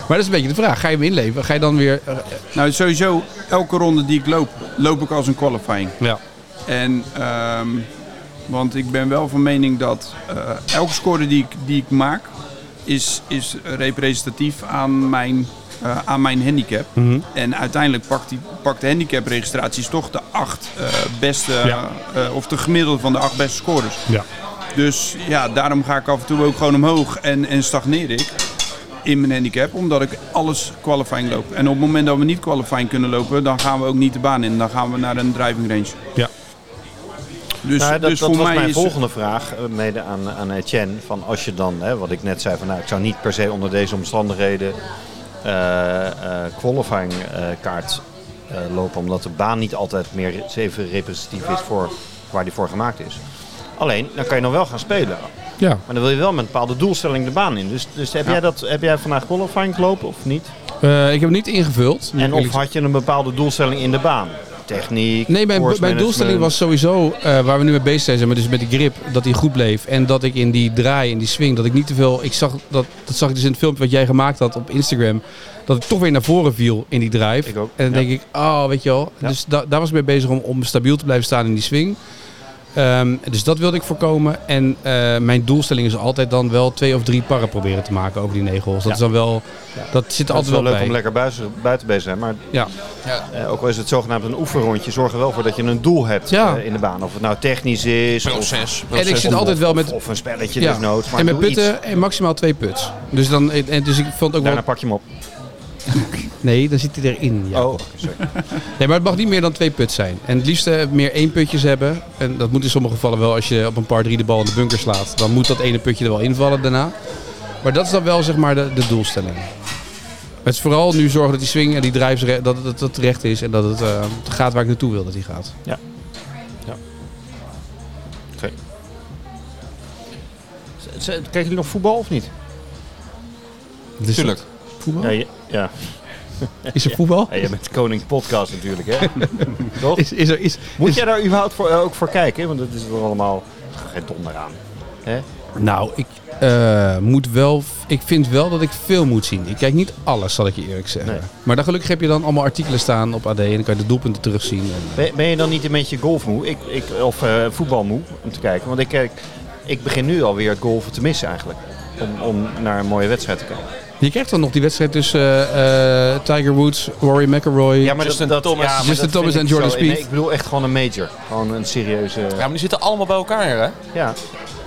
Speaker 1: dat is een beetje de vraag. Ga je hem inleven? Ga je dan weer... eh,
Speaker 4: Nou, sowieso, elke ronde die ik loop, loop ik als een qualifying.
Speaker 1: ja.
Speaker 4: En, ehm, want ik ben wel van mening dat eh, elke score die ik, die ik maak, is, is representatief aan mijn, eh, aan mijn handicap.
Speaker 1: Mhm.
Speaker 4: En uiteindelijk pakt, die, pakt de handicapregistraties toch de acht eh, beste,
Speaker 1: Ja.
Speaker 4: eh, of de gemiddelde van de acht beste scorers.
Speaker 1: Ja.
Speaker 4: Dus ja, daarom ga ik af en toe ook gewoon omhoog en, en stagneer ik in mijn handicap, omdat ik alles qualifying loop. En op het moment dat we niet qualifying kunnen lopen, dan gaan we ook niet de baan in. Dan gaan we naar een driving range.
Speaker 1: Ja.
Speaker 4: Dus,
Speaker 3: Nou, dat
Speaker 4: dus
Speaker 3: dat
Speaker 4: voor
Speaker 3: was
Speaker 4: mij
Speaker 3: mijn
Speaker 4: is
Speaker 3: volgende vraag, eh, mede aan, aan Etienne. Van als je dan, hè, wat ik net zei, van, nou, ik zou niet per se onder deze omstandigheden eh, eh, qualifying eh, kaart eh, lopen. Omdat de baan niet altijd meer even representatief is voor waar die voor gemaakt is. Alleen, dan kan je nog wel gaan spelen.
Speaker 1: Ja.
Speaker 3: Maar dan wil je wel met een bepaalde doelstelling de baan in. Dus, dus heb, jij dat, heb jij vandaag qualifying gelopen of niet?
Speaker 1: Eh, ik heb hem niet ingevuld.
Speaker 3: En of had je een bepaalde doelstelling in de baan? Techniek,
Speaker 1: Nee, mijn,
Speaker 3: course
Speaker 1: mijn doelstelling
Speaker 3: management.
Speaker 1: was sowieso, eh, waar we nu mee bezig zijn, zeg maar, dus met die grip, dat die goed bleef. En dat ik in die draai, in die swing, dat ik niet te veel... Ik zag, dat, dat zag ik dus in het filmpje wat jij gemaakt had op Instagram. Dat ik toch weer naar voren viel in die drive.
Speaker 3: Ik ook,
Speaker 1: En dan
Speaker 3: ja.
Speaker 1: denk ik, oh, weet je wel.
Speaker 3: Ja.
Speaker 1: Dus da- daar was ik mee bezig om, om stabiel te blijven staan in die swing. Ehm, dus dat wilde ik voorkomen. En eh, mijn doelstelling is altijd dan wel twee of drie parren proberen te maken over die negels. Dat
Speaker 3: Ja.
Speaker 1: is dan wel... Dat zit er
Speaker 3: Het is
Speaker 1: altijd wel,
Speaker 3: wel leuk
Speaker 1: bij.
Speaker 3: om lekker buiten, buiten bezig te zijn, maar
Speaker 1: Ja.
Speaker 3: Eh, ook al is het zogenaamd een oefenrondje, zorg er wel voor dat je een doel hebt
Speaker 1: Ja.
Speaker 3: eh, in de baan. Of het nou technisch is, of,
Speaker 2: Proces.
Speaker 1: En ik
Speaker 2: proces.
Speaker 1: zit altijd wel met...
Speaker 3: of, of een spelletje
Speaker 1: Ja.
Speaker 3: desnoods. Maar
Speaker 1: en met
Speaker 3: doe iets.
Speaker 1: putten en maximaal twee puts. Dus, dan, en, dus ik vond ook
Speaker 3: Daarna
Speaker 1: wel...
Speaker 3: pak je hem op.
Speaker 1: Nee, dan zit hij erin. Ja.
Speaker 3: Oh, oké, sorry.
Speaker 1: Nee, maar het mag niet meer dan twee puts zijn. En het liefst eh, meer één putjes hebben. En dat moet in sommige gevallen wel als je op een paar drie de bal in de bunker slaat. Dan moet dat ene putje er wel invallen daarna. Maar dat is dan wel zeg maar de, de doelstelling. Het is vooral nu zorgen dat die swing en die drives re- dat, dat, dat recht is. En dat het eh, gaat waar ik naartoe wil dat hij gaat.
Speaker 3: Z- z- Kijken jullie nog voetbal of niet?
Speaker 1: Dus
Speaker 2: Tuurlijk.
Speaker 1: dat- Voetbal?
Speaker 3: Ja, je- ja.
Speaker 1: Is er voetbal?
Speaker 3: Ja, jij bent koning podcast natuurlijk, hè? Toch?
Speaker 1: Is, is er, is,
Speaker 3: Moet jij daar überhaupt voor, eh, ook voor kijken? Want dat is er allemaal... Geen donder aan. Hè?
Speaker 1: Nou, ik eh, moet wel. Ik vind wel dat ik veel moet zien. Ik kijk niet alles, zal ik je eerlijk zeggen.
Speaker 3: Nee.
Speaker 1: Maar dan gelukkig heb je dan allemaal artikelen staan op AD en dan kan je de doelpunten terugzien. En, eh,
Speaker 3: Ben, ben je dan niet een beetje golfmoe? Ik, ik, of eh, voetbalmoe, om te kijken? Want ik, eh, ik begin nu alweer het golven te missen eigenlijk. Om, om naar een mooie wedstrijd te kijken.
Speaker 1: je krijgt dan nog die wedstrijd tussen eh, eh, Tiger Woods, Rory McIlroy.
Speaker 3: Ja, maar
Speaker 2: Justin
Speaker 3: dat, dat,
Speaker 2: Thomas.
Speaker 3: ja, maar
Speaker 1: Justin
Speaker 3: dat
Speaker 1: Thomas
Speaker 3: vind
Speaker 1: en
Speaker 3: ik
Speaker 1: Jordan
Speaker 3: zo- nee,
Speaker 1: Spieth.
Speaker 3: ik bedoel echt gewoon een major. Gewoon een serieuze...
Speaker 2: Ja, maar die zitten allemaal bij elkaar, hè?
Speaker 3: Ja,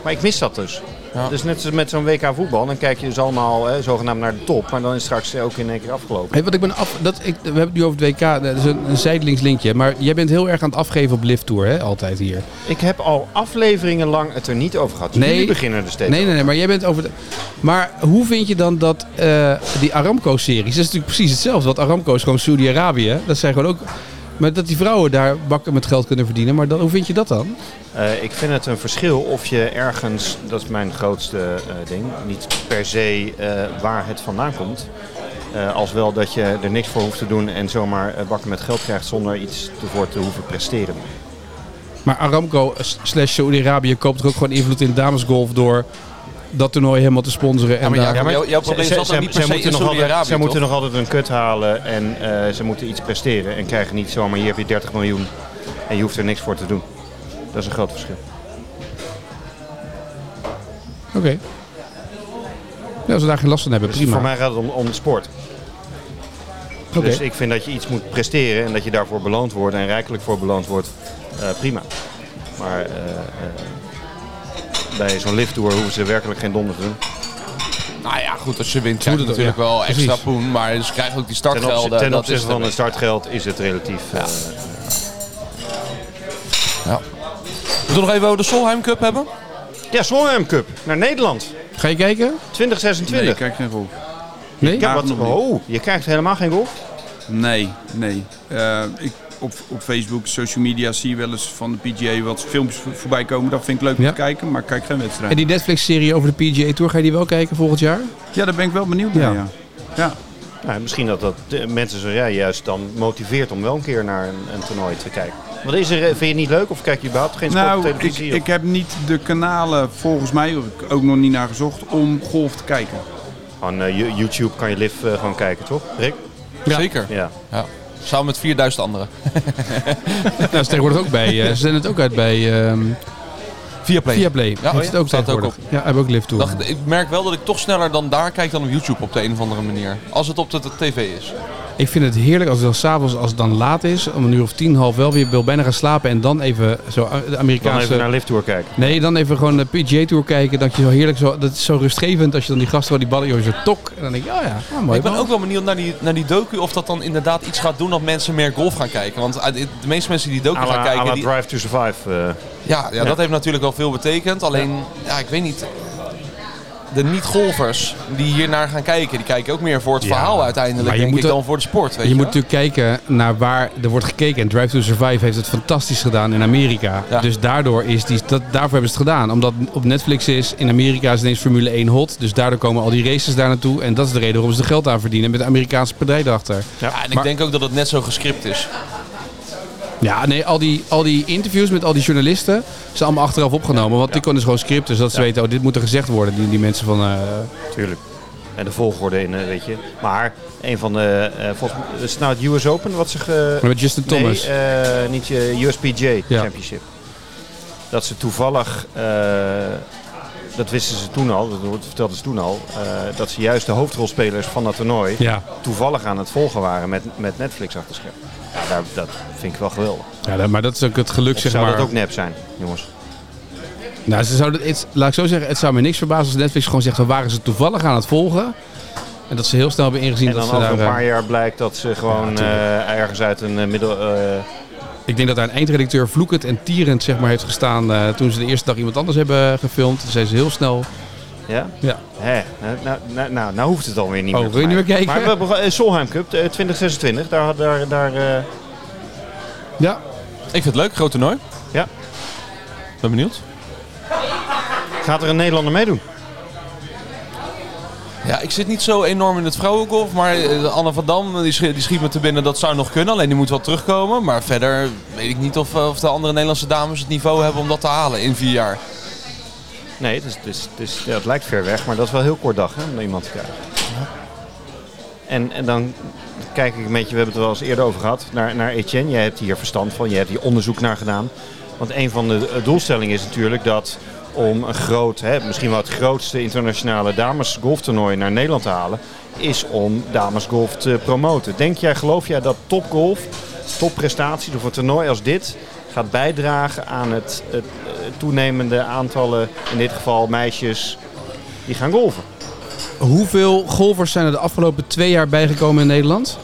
Speaker 3: maar ik mis dat dus.
Speaker 2: Ja.
Speaker 3: Dus net als met zo'n WK voetbal, dan kijk je dus allemaal hè, zogenaamd naar de top. Maar dan is straks ook in één keer afgelopen.
Speaker 1: Hey, wat ik ben af, dat, ik, we hebben het nu over het WK, dat is een, een zijdelings linkje. Maar jij bent heel erg aan het afgeven op Lift Tour, hè? altijd hier.
Speaker 3: Ik heb al afleveringen lang het er niet over gehad. Dus
Speaker 1: Nee.
Speaker 3: Jullie beginnen er steeds
Speaker 1: Nee, nee, nee, maar jij bent over. De... Maar hoe vind je dan dat eh, die Aramco-series? Dat is natuurlijk precies hetzelfde. Want Aramco is gewoon Saudi-Arabië. Dat zijn gewoon ook. Maar dat die vrouwen daar bakken met geld kunnen verdienen. Maar dan, hoe vind je dat dan?
Speaker 3: Eh, ik vind het een verschil of je ergens, dat is mijn grootste eh, ding, niet per se eh, waar het vandaan komt. Eh, als wel dat je er niks voor hoeft te doen en zomaar eh, bakken met geld krijgt zonder iets ervoor te hoeven presteren.
Speaker 1: Maar Aramco slash Saudi-Arabië koopt toch ook gewoon invloed in damesgolf door dat toernooi helemaal te sponsoren. En
Speaker 2: Ja, maar
Speaker 1: daar-
Speaker 2: ja, maar jouw, jouw probleem
Speaker 3: Ze-
Speaker 2: zat
Speaker 3: ze-
Speaker 2: dan niet per
Speaker 3: ze
Speaker 2: se
Speaker 3: moeten
Speaker 2: in
Speaker 3: nog altijd-
Speaker 2: Saudi-Arabië,
Speaker 3: Ze moeten
Speaker 2: toch?
Speaker 3: nog altijd een kut halen en eh, ze moeten iets presteren. En krijgen niet zomaar, hier heb je 30 miljoen en je hoeft er niks voor te doen. Dat is een groot verschil.
Speaker 1: Oké. Ja, als ze daar geen last van hebben,
Speaker 3: Dus
Speaker 1: prima.
Speaker 3: voor mij gaat het om, om sport.
Speaker 1: Oké.
Speaker 3: Dus ik vind dat je iets moet presteren en dat je daarvoor beloond wordt en rijkelijk voor beloond wordt. eh, prima. Maar eh, eh, bij zo'n lifttour hoeven ze werkelijk geen donder te doen.
Speaker 2: Nou ja, goed, als je wint krijg je
Speaker 1: het-
Speaker 2: natuurlijk
Speaker 1: ja,
Speaker 2: wel extra
Speaker 1: precies.
Speaker 2: poen. Maar dus je krijgt ook die
Speaker 3: Ten opzi-
Speaker 2: startgelden.
Speaker 3: ten
Speaker 2: dat
Speaker 3: opzichte
Speaker 2: is
Speaker 3: van
Speaker 2: de-
Speaker 3: het startgeld is het relatief. eh,
Speaker 2: Ja. We nog even over de Solheim Cup hebben.
Speaker 3: ja, Slalom Cup naar Nederland
Speaker 1: Ga je kijken?
Speaker 3: 2026.
Speaker 4: Nee, ik krijg geen golf.
Speaker 1: Nee?
Speaker 3: Ja, wat,
Speaker 4: nog niet.
Speaker 3: oh, je krijgt helemaal geen golf?
Speaker 4: Nee, nee. Eh, ik, op, op Facebook, social media zie je wel eens van de PGA wat filmpjes vo- voorbij komen. Dat vind ik leuk om
Speaker 1: Ja.
Speaker 4: te kijken, maar ik kijk geen wedstrijd.
Speaker 1: En die Netflix-serie over de PGA Tour, ga je die wel kijken volgend jaar? <laughs>
Speaker 4: Ja, daar ben ik wel benieuwd
Speaker 1: Ja.
Speaker 4: naar. Ja. Ja.
Speaker 3: Nou, misschien dat dat de mensen zoals jij juist dan motiveert om wel een keer naar een, een toernooi te kijken. Wat is er, eh, vind je het niet leuk of kijk je überhaupt geen sport op
Speaker 4: Nou, ik,
Speaker 3: televisie?
Speaker 4: ik heb niet de kanalen, volgens mij, heb ik ook nog niet naar gezocht, om golf te kijken.
Speaker 3: Van eh, YouTube kan je live eh, gewoon kijken, toch? Rick?
Speaker 2: Zeker.
Speaker 3: Ja.
Speaker 2: Ja. Samen met 4000 anderen.
Speaker 1: Nou, ze tegenwoordig ook bij. eh, ze zijn het ook uit bij ehm
Speaker 2: Via Play.
Speaker 1: Viaplay.
Speaker 2: Ja,
Speaker 1: Heeft het ook
Speaker 2: staat ook
Speaker 1: tegenwoordig. Ja, hebben ook Live Tour.
Speaker 2: Dacht- ik merk wel dat ik toch sneller dan daar kijk dan op YouTube op de een of andere manier. Als het op de, de tv is.
Speaker 1: Ik vind het heerlijk als het dan s'avonds, als het dan laat is, om een uur of tien, half wel weer wil bijna gaan slapen en dan even zo eh, de
Speaker 3: Dan
Speaker 1: Amerikaanse...
Speaker 3: even naar Live Tour kijken.
Speaker 1: Nee, dan even gewoon de PGA Tour kijken. Dat je zo heerlijk zo, dat is zo rustgevend als je dan die gasten wel die ballen joh, zo tok. En dan denk je, oh ja, ah, mooi.
Speaker 2: ik ben
Speaker 1: bal.
Speaker 2: ook wel benieuwd naar die, naar die docu of dat dan inderdaad iets gaat doen dat mensen meer golf gaan kijken. Want eh, de meeste mensen die die docu
Speaker 3: À
Speaker 2: gaan
Speaker 3: la, à
Speaker 2: kijken,
Speaker 3: la
Speaker 2: die,
Speaker 3: Drive to Survive. eh.
Speaker 2: Ja, ja, dat heeft natuurlijk wel veel betekend. Alleen, ja. ik weet niet. De niet-golfers die hiernaar gaan kijken, die kijken ook meer voor het
Speaker 1: Ja.
Speaker 2: verhaal uiteindelijk.
Speaker 1: Maar je
Speaker 2: denk
Speaker 1: moet
Speaker 2: ik
Speaker 1: wel-
Speaker 2: dan voor de sport. Weet
Speaker 1: je moet natuurlijk kijken naar waar er wordt gekeken. En Drive to Survive heeft het fantastisch gedaan in Amerika.
Speaker 2: Ja.
Speaker 1: Dus daardoor is die, dat, daarvoor hebben ze het gedaan. Omdat het op Netflix is, in Amerika is ineens Formule 1 hot. Dus daardoor komen al die races daar naartoe. En dat is de reden waarom ze er geld aan verdienen met de Amerikaanse partij erachter.
Speaker 2: Ja, en ik
Speaker 1: Maar-
Speaker 2: denk ook dat het net zo gescript is.
Speaker 1: Ja, nee, al die, al die interviews met al die journalisten zijn allemaal achteraf opgenomen. want die konden dus gewoon scripten, zodat ze weten, oh, dit moet er gezegd worden. Die, die mensen van... eh,
Speaker 3: Tuurlijk. En de volgorde in, eh, weet je. Maar een van de. eh volgens mij, is het nou het US Open wat zich. eh,
Speaker 1: met Justin Thomas.
Speaker 3: Nee, eh, niet je USPJ
Speaker 1: Ja.
Speaker 3: Championship. Dat ze toevallig, eh, dat wisten ze toen al, dat hoort- vertelden ze toen al, eh, dat ze juist de hoofdrolspelers van dat toernooi
Speaker 1: ja.
Speaker 3: toevallig aan het volgen waren met, met Netflix achter scherm. Ja, daar, dat vind ik wel geweldig.
Speaker 1: ja, dat- maar dat is ook het geluk,
Speaker 3: Of
Speaker 1: zeg
Speaker 3: zou
Speaker 1: maar.
Speaker 3: dat ook nep zijn, jongens?
Speaker 1: Nou, ze zouden, het, laat ik zo zeggen, het zou me niks verbazen als Netflix gewoon zegt, we waren ze toevallig aan het volgen. En dat ze heel snel hebben ingezien
Speaker 3: En
Speaker 1: dat
Speaker 3: dan
Speaker 1: ze
Speaker 3: over
Speaker 1: daar...
Speaker 3: een
Speaker 1: eh,
Speaker 3: paar jaar blijkt dat ze gewoon eh, ergens uit een eh, middel... eh,
Speaker 1: Ik denk dat daar een eindredacteur vloekend en tierend zeg maar, heeft gestaan eh, toen ze de eerste dag iemand anders hebben gefilmd. Toen zijn ze heel snel...
Speaker 3: ja?
Speaker 1: Ja.
Speaker 3: Hè, nou, nou, nou, nou, nou hoeft het alweer niet
Speaker 1: Oh,
Speaker 3: meer.
Speaker 1: wil je
Speaker 3: voor
Speaker 1: niet
Speaker 3: mij.
Speaker 1: meer kijken?
Speaker 3: Maar we hebben eh, Solheim Cup eh, 2026, daar... had- daar, daar eh,
Speaker 1: Ja,
Speaker 2: Ik vind het leuk, groot toernooi.
Speaker 3: Ja.
Speaker 2: Ben benieuwd.
Speaker 3: Gaat er een Nederlander meedoen?
Speaker 2: Ja, ik zit niet zo enorm in het vrouwengolf, maar eh, Anne van Dam eh, die schiet, die schiet me te binnen. Dat zou nog kunnen, alleen die moet wel terugkomen. Maar verder weet ik niet of, eh, of de andere Nederlandse dames het niveau hebben om dat te halen in vier jaar.
Speaker 3: Nee, het, is, het, is, het, is, ja, het lijkt ver weg, maar dat is wel heel kort dag hè, om er iemand te krijgen. En, en dan kijk ik een beetje, we hebben het er wel eens eerder over gehad, naar, naar Etienne. Jij hebt hier verstand van, je hebt hier onderzoek naar gedaan. Want een van de eh, doelstellingen is natuurlijk dat om een groot, hè, misschien wel het grootste internationale damesgolftoernooi naar Nederland te halen, is om damesgolf te promoten. Denk jij, geloof jij dat topgolf, topprestatie door een toernooi als dit, gaat bijdragen aan het, het eh, toenemende aantallen, in dit geval meisjes, die gaan golven?
Speaker 1: Hoeveel golfers zijn er de afgelopen twee jaar bijgekomen in Nederland?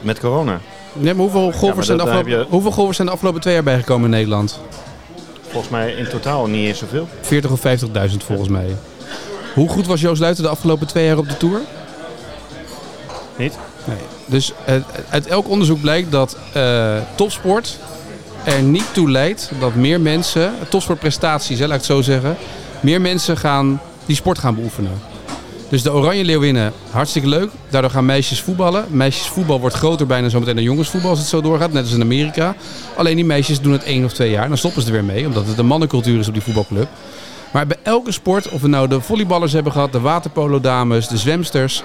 Speaker 3: Met corona.
Speaker 1: Nee, maar hoeveel golfers, zijn, de
Speaker 3: dat- daar
Speaker 1: afgelopen,
Speaker 3: heb je-
Speaker 1: hoeveel golfers zijn de afgelopen twee jaar bijgekomen in Nederland?
Speaker 3: Volgens mij in totaal niet eens zoveel.
Speaker 1: 40 of 50.000 volgens mij. Hoe goed was Joost Luiten de afgelopen twee jaar op de Tour?
Speaker 3: Niet?
Speaker 1: Nee. Dus eh, uit elk onderzoek blijkt dat eh, topsport er niet toe leidt dat meer mensen, topsportprestaties, hè, laat ik het zo zeggen, meer mensen gaan die sport gaan beoefenen. Dus de Oranje Leeuwinnen, hartstikke leuk. Daardoor gaan meisjes voetballen. Meisjesvoetbal wordt groter bijna zometeen dan jongensvoetbal als het zo doorgaat, net als in Amerika. Alleen die meisjes doen het één of twee jaar. Dan stoppen ze er weer mee, omdat het een mannencultuur is op die voetbalclub. Maar bij elke sport, of we nou de volleyballers hebben gehad, de waterpolodames, de zwemsters,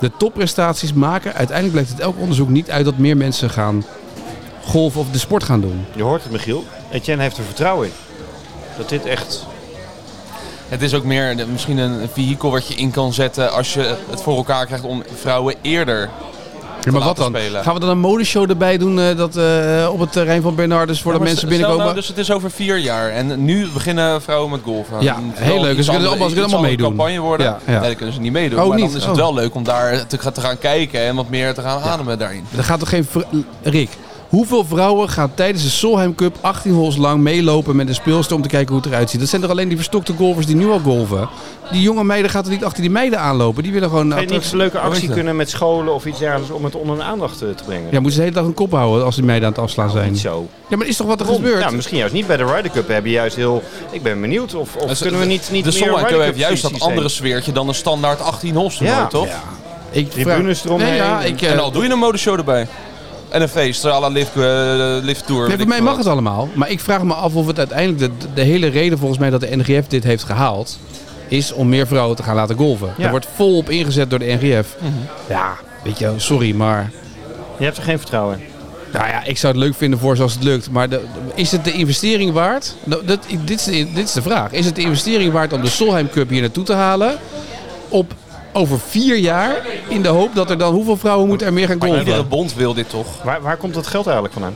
Speaker 1: de topprestaties maken. Uiteindelijk blijkt uit elk onderzoek niet uit dat meer mensen gaan golven of de sport gaan doen.
Speaker 3: Je hoort het, Michiel. Etienne heeft er vertrouwen in. Dat dit echt...
Speaker 2: Het is ook meer de- misschien een vehikel wat je in kan zetten als je het voor elkaar krijgt om vrouwen eerder.
Speaker 1: maar wat
Speaker 2: laten
Speaker 1: dan?
Speaker 2: spelen.
Speaker 1: Gaan we dan een modeshow erbij doen eh, dat, eh, op het terrein van Bernardus voordat
Speaker 2: Maar
Speaker 1: mensen
Speaker 2: stel
Speaker 1: binnenkomen?
Speaker 2: nou, dus het is over vier jaar en nu beginnen vrouwen met golfen.
Speaker 1: Ja,
Speaker 2: Het moet
Speaker 1: heel
Speaker 2: wel
Speaker 1: leuk.
Speaker 2: iets
Speaker 1: Ze kunnen
Speaker 2: ander-
Speaker 1: allemaal- ze kunnen
Speaker 2: iets
Speaker 1: allemaal
Speaker 2: andere
Speaker 1: meedoen.
Speaker 2: campagne worden.
Speaker 1: Ja, ja.
Speaker 2: Nee, dan kunnen ze niet meedoen.
Speaker 1: Oh,
Speaker 2: maar
Speaker 1: niet?
Speaker 2: dan is het
Speaker 1: Oh.
Speaker 2: wel leuk om daar te, gaan- te gaan kijken en wat meer te gaan ademen daarin.
Speaker 1: Er gaat toch geen... vr- Rick, hoeveel vrouwen gaan tijdens de Solheim Cup 18 holes lang meelopen met een speelster om te kijken hoe het eruit ziet? Dat zijn toch alleen die verstokte golfers die nu al golven? Die jonge meiden gaat er niet achter die meiden aanlopen. Die willen gewoon... eh,
Speaker 3: Zou je niet
Speaker 1: attractie-
Speaker 3: een leuke
Speaker 2: Hoe is
Speaker 3: actie
Speaker 2: dat?
Speaker 3: kunnen met scholen of iets dergelijks om het onder de aandacht eh, te brengen?
Speaker 1: Ja, moeten ze de hele dag een kop houden als die meiden aan het afslaan zijn.
Speaker 3: Niet zo.
Speaker 1: Ja, maar is toch wat er
Speaker 3: Waarom?
Speaker 1: gebeurt?
Speaker 3: Nou, misschien juist niet bij de Ryder Cup. Hebben juist heel... Ik ben benieuwd of, of
Speaker 2: Dus
Speaker 3: kunnen we
Speaker 2: de-
Speaker 3: niet, niet
Speaker 2: de
Speaker 3: meer
Speaker 2: Solheim
Speaker 3: Ryder
Speaker 2: Cup
Speaker 3: Cup
Speaker 2: heeft juist dat
Speaker 3: systeem?
Speaker 2: andere sfeertje dan een standaard 18 hols toernooi,
Speaker 3: Ja.
Speaker 2: toch?
Speaker 1: ik
Speaker 3: Tribunes eromheen.
Speaker 1: Nee, ja, ik, eh,
Speaker 2: En al doe je een modeshow erbij. En een feest, à la lift, eh, lift tour.
Speaker 1: Nee, voor
Speaker 2: weet ik
Speaker 1: mij mag
Speaker 2: wat.
Speaker 1: het allemaal. Maar ik vraag me af of het uiteindelijk... De, de hele reden volgens mij dat de NGF dit heeft gehaald... is om meer vrouwen te gaan laten golven.
Speaker 3: Ja.
Speaker 1: Er wordt volop ingezet door de NGF. Ja, weet je, wel, sorry, maar...
Speaker 3: Je hebt er geen vertrouwen in.
Speaker 1: Nou ja, ik zou het leuk vinden voor ze als het lukt. Maar de- is het de investering waard? Nou, dat, dit, is de, dit is de vraag. Is het de investering waard om de Solheim Cup hier naartoe te halen? Op over vier jaar. In de hoop dat er dan... Hoeveel vrouwen moeten er meer gaan
Speaker 2: Maar iedere
Speaker 1: golven?
Speaker 2: bond wil dit toch?
Speaker 3: Waar, waar komt dat geld eigenlijk vandaan?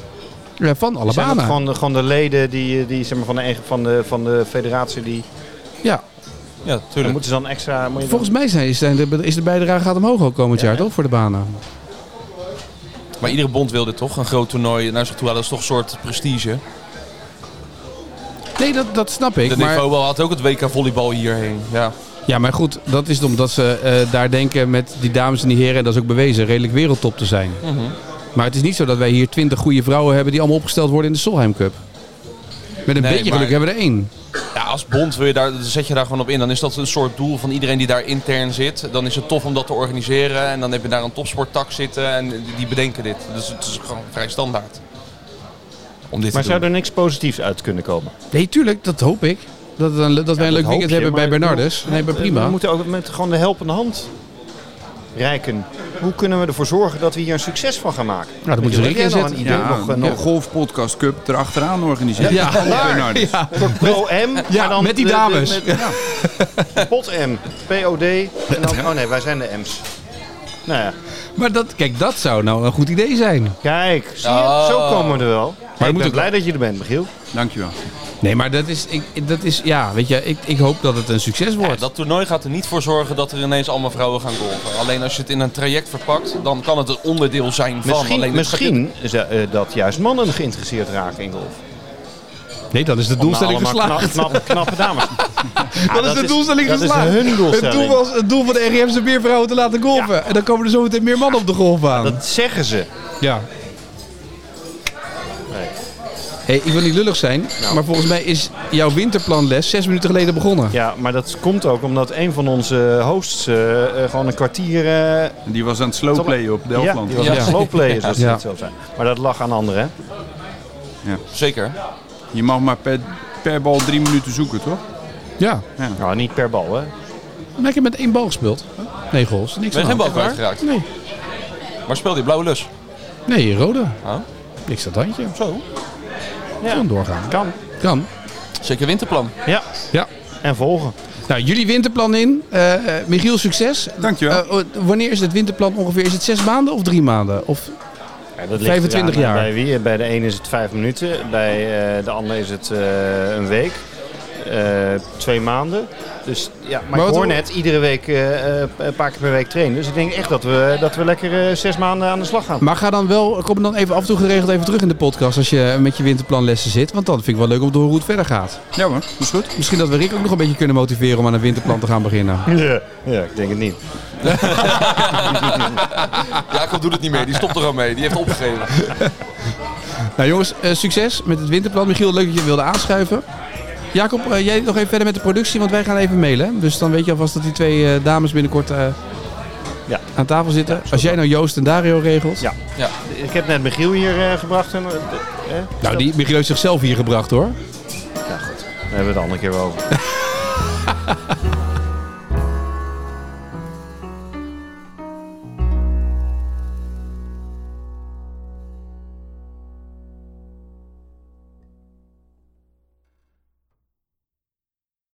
Speaker 1: Ja, van alle
Speaker 3: Zijn dat
Speaker 1: banen.
Speaker 3: gewoon, de- gewoon de leden die, eh, die zeg maar, van, de, eigen- van, de, van de federatie die...
Speaker 1: Ja,
Speaker 2: Ja,
Speaker 3: Dan
Speaker 2: tuurlijk.
Speaker 3: moeten ze dan extra... moet je
Speaker 1: Volgens mij zijn, zijn de, is de bijdrage gaat omhoog ook komend jaar, toch? Voor de banen.
Speaker 2: Maar iedere bond wil dit toch? Een groot toernooi naar zich toe halen, dat is toch een soort prestige.
Speaker 1: Nee, dat, dat snap ik.
Speaker 2: De
Speaker 1: Maar,
Speaker 2: niveau wel had ook het WK volleybal hierheen. Ja.
Speaker 1: ja, maar goed, dat is omdat ze eh, daar denken met die dames en die heren, en dat is ook bewezen, redelijk wereldtop te zijn. Maar het is niet zo dat wij hier twintig goede vrouwen hebben die allemaal opgesteld worden in de Solheim Cup. Met een
Speaker 2: Nee,
Speaker 1: beetje
Speaker 2: maar-
Speaker 1: geluk hebben we er één.
Speaker 2: ja, als bond wil je daar, zet je daar gewoon op in. Dan is dat een soort doel van iedereen die daar intern zit. Dan is het tof om dat te organiseren. En dan heb je daar een topsporttak zitten en die- die bedenken dit. Dus het is gewoon vrij standaard. Om dit
Speaker 3: Maar
Speaker 2: te doen.
Speaker 3: zou er niks positiefs uit kunnen komen?
Speaker 1: Nee, tuurlijk, dat hoop ik. Dat, we een- dat wij een leuk
Speaker 3: hoop
Speaker 1: weekend
Speaker 3: je,
Speaker 1: hebben bij
Speaker 3: maar ik
Speaker 1: Bernardus. Nee, maar
Speaker 3: Eh, We
Speaker 1: prima.
Speaker 3: moeten ook met gewoon de helpende hand reiken. Hoe kunnen we ervoor zorgen dat we hier een succes van gaan maken?
Speaker 1: Nou, dat moeten ze
Speaker 3: Heb
Speaker 1: Rick
Speaker 3: jij nog
Speaker 1: inzetten.
Speaker 3: een idee? nog, eh, nog
Speaker 4: golfpodcast cup erachteraan organiseren.
Speaker 1: Ja, <laughs>
Speaker 4: Bernardus.
Speaker 1: ja.
Speaker 3: Pro-M? maar
Speaker 1: Ja, met die
Speaker 3: de- de-
Speaker 1: dames.
Speaker 3: met- <laughs> ja. Pot-M, POD. En dan, oh nee, wij zijn de M's. Nou ja,
Speaker 1: Maar dat, kijk, dat zou nou een goed idee zijn.
Speaker 3: kijk, zie je?
Speaker 2: Oh.
Speaker 3: zo komen we er wel. Hey, ik
Speaker 1: moet
Speaker 3: ben
Speaker 1: ook-
Speaker 3: blij dat je er bent, Michiel.
Speaker 4: Dankjewel.
Speaker 1: Nee, maar dat is, ik, dat is ja, weet je, ik, ik hoop dat het een succes wordt.
Speaker 2: Ja, dat toernooi gaat er niet voor zorgen dat er ineens allemaal vrouwen gaan golven. Alleen als je het in een traject verpakt, dan kan het een onderdeel zijn van. Alleen
Speaker 3: Misschien,
Speaker 2: het
Speaker 3: misschien ze- eh, dat juist mannen geïnteresseerd raken in golf.
Speaker 1: Nee, dan is de doelstelling
Speaker 3: Nou, allemaal
Speaker 1: geslaagd.
Speaker 3: Knap, knap, knappe
Speaker 1: <laughs>
Speaker 3: dames. Ja,
Speaker 1: Dan is de doelstelling
Speaker 3: dat
Speaker 1: geslaagd.
Speaker 3: Dat is hun doelstelling.
Speaker 1: Het doel was het doel van de RGF is om meer vrouwen te laten golven. En dan komen er zometeen meer mannen op de golfbaan.
Speaker 3: Dat zeggen ze.
Speaker 1: Ja.
Speaker 3: Nee. Nou.
Speaker 1: Hey, ik wil niet lullig zijn, maar volgens mij is jouw winterplanles zes minuten geleden begonnen.
Speaker 3: Ja, maar dat komt ook omdat een van onze hosts eh, eh, gewoon een kwartier... eh,
Speaker 4: Die was aan het slowplayen op
Speaker 3: ja,
Speaker 4: Delftland.
Speaker 3: die was
Speaker 2: Ja.
Speaker 3: een slowplayer, zoals ze
Speaker 1: Ja.
Speaker 3: dat zelf zijn. Maar dat lag aan anderen, hè?
Speaker 2: Zeker.
Speaker 4: Je mag maar per per bal drie minuten zoeken, toch?
Speaker 1: Ja,
Speaker 3: Nou, niet per bal, hè?
Speaker 1: lekker met één bal gespeeld. Nee goals, niks
Speaker 2: Ben
Speaker 1: aan
Speaker 2: je geen bal
Speaker 1: de hand.
Speaker 2: kwijtgeraakt?
Speaker 1: Nee,
Speaker 2: Maar speelt die blauwe lus?
Speaker 1: nee rode.
Speaker 2: Oh.
Speaker 1: Niks dat handje.
Speaker 2: Zo.
Speaker 1: Gewoon doorgaan.
Speaker 3: Kan.
Speaker 1: Kan.
Speaker 2: Zeker winterplan.
Speaker 3: Ja,
Speaker 1: Ja.
Speaker 3: en volgen.
Speaker 1: Nou, jullie winterplan in. Eh, eh, Michiel, succes.
Speaker 4: Dankjewel.
Speaker 1: Eh, oh, wanneer is het winterplan ongeveer? Is het zes maanden of drie maanden? Of,
Speaker 3: Ja, dat ligt
Speaker 1: 25
Speaker 3: eraan
Speaker 1: jaar.
Speaker 3: Bij wie? Bij de een is het vijf minuten, bij eh, de ander is het eh, een week, eh, twee maanden. Dus ja, maar,
Speaker 1: wat-
Speaker 3: ik hoor net iedere week eh, eh, een paar keer per week trainen. Dus ik denk echt dat we, dat we lekker eh, zes maanden aan de slag gaan.
Speaker 1: maar ga dan wel, kom dan even af en toe geregeld even terug in de podcast als je met je winterplanlessen zit. Want dan vind ik wel leuk om te horen hoe het verder gaat.
Speaker 4: Ja hoor, is goed.
Speaker 1: Misschien dat we Rick ook nog een beetje kunnen motiveren om aan een winterplan te gaan beginnen.
Speaker 3: Ja, ja, ik denk het niet.
Speaker 2: Jacob doet het niet meer. Die stopt er al mee. Die heeft opgegeven.
Speaker 1: Nou jongens, eh, succes met het winterplan. Michiel, leuk dat je wilde aanschuiven. Jacob, eh, jij nog even verder met de productie, want wij gaan even mailen. Dus dan weet je alvast dat die twee eh, dames binnenkort eh,
Speaker 3: Ja.
Speaker 1: aan tafel zitten. Als jij nou Joost en Dario regelt.
Speaker 3: Ja. Ik heb net Michiel hier eh, gebracht. En, eh, eh,
Speaker 1: Nou, die Michiel heeft zichzelf hier gebracht hoor.
Speaker 3: Daar hebben we het de andere keer wel over.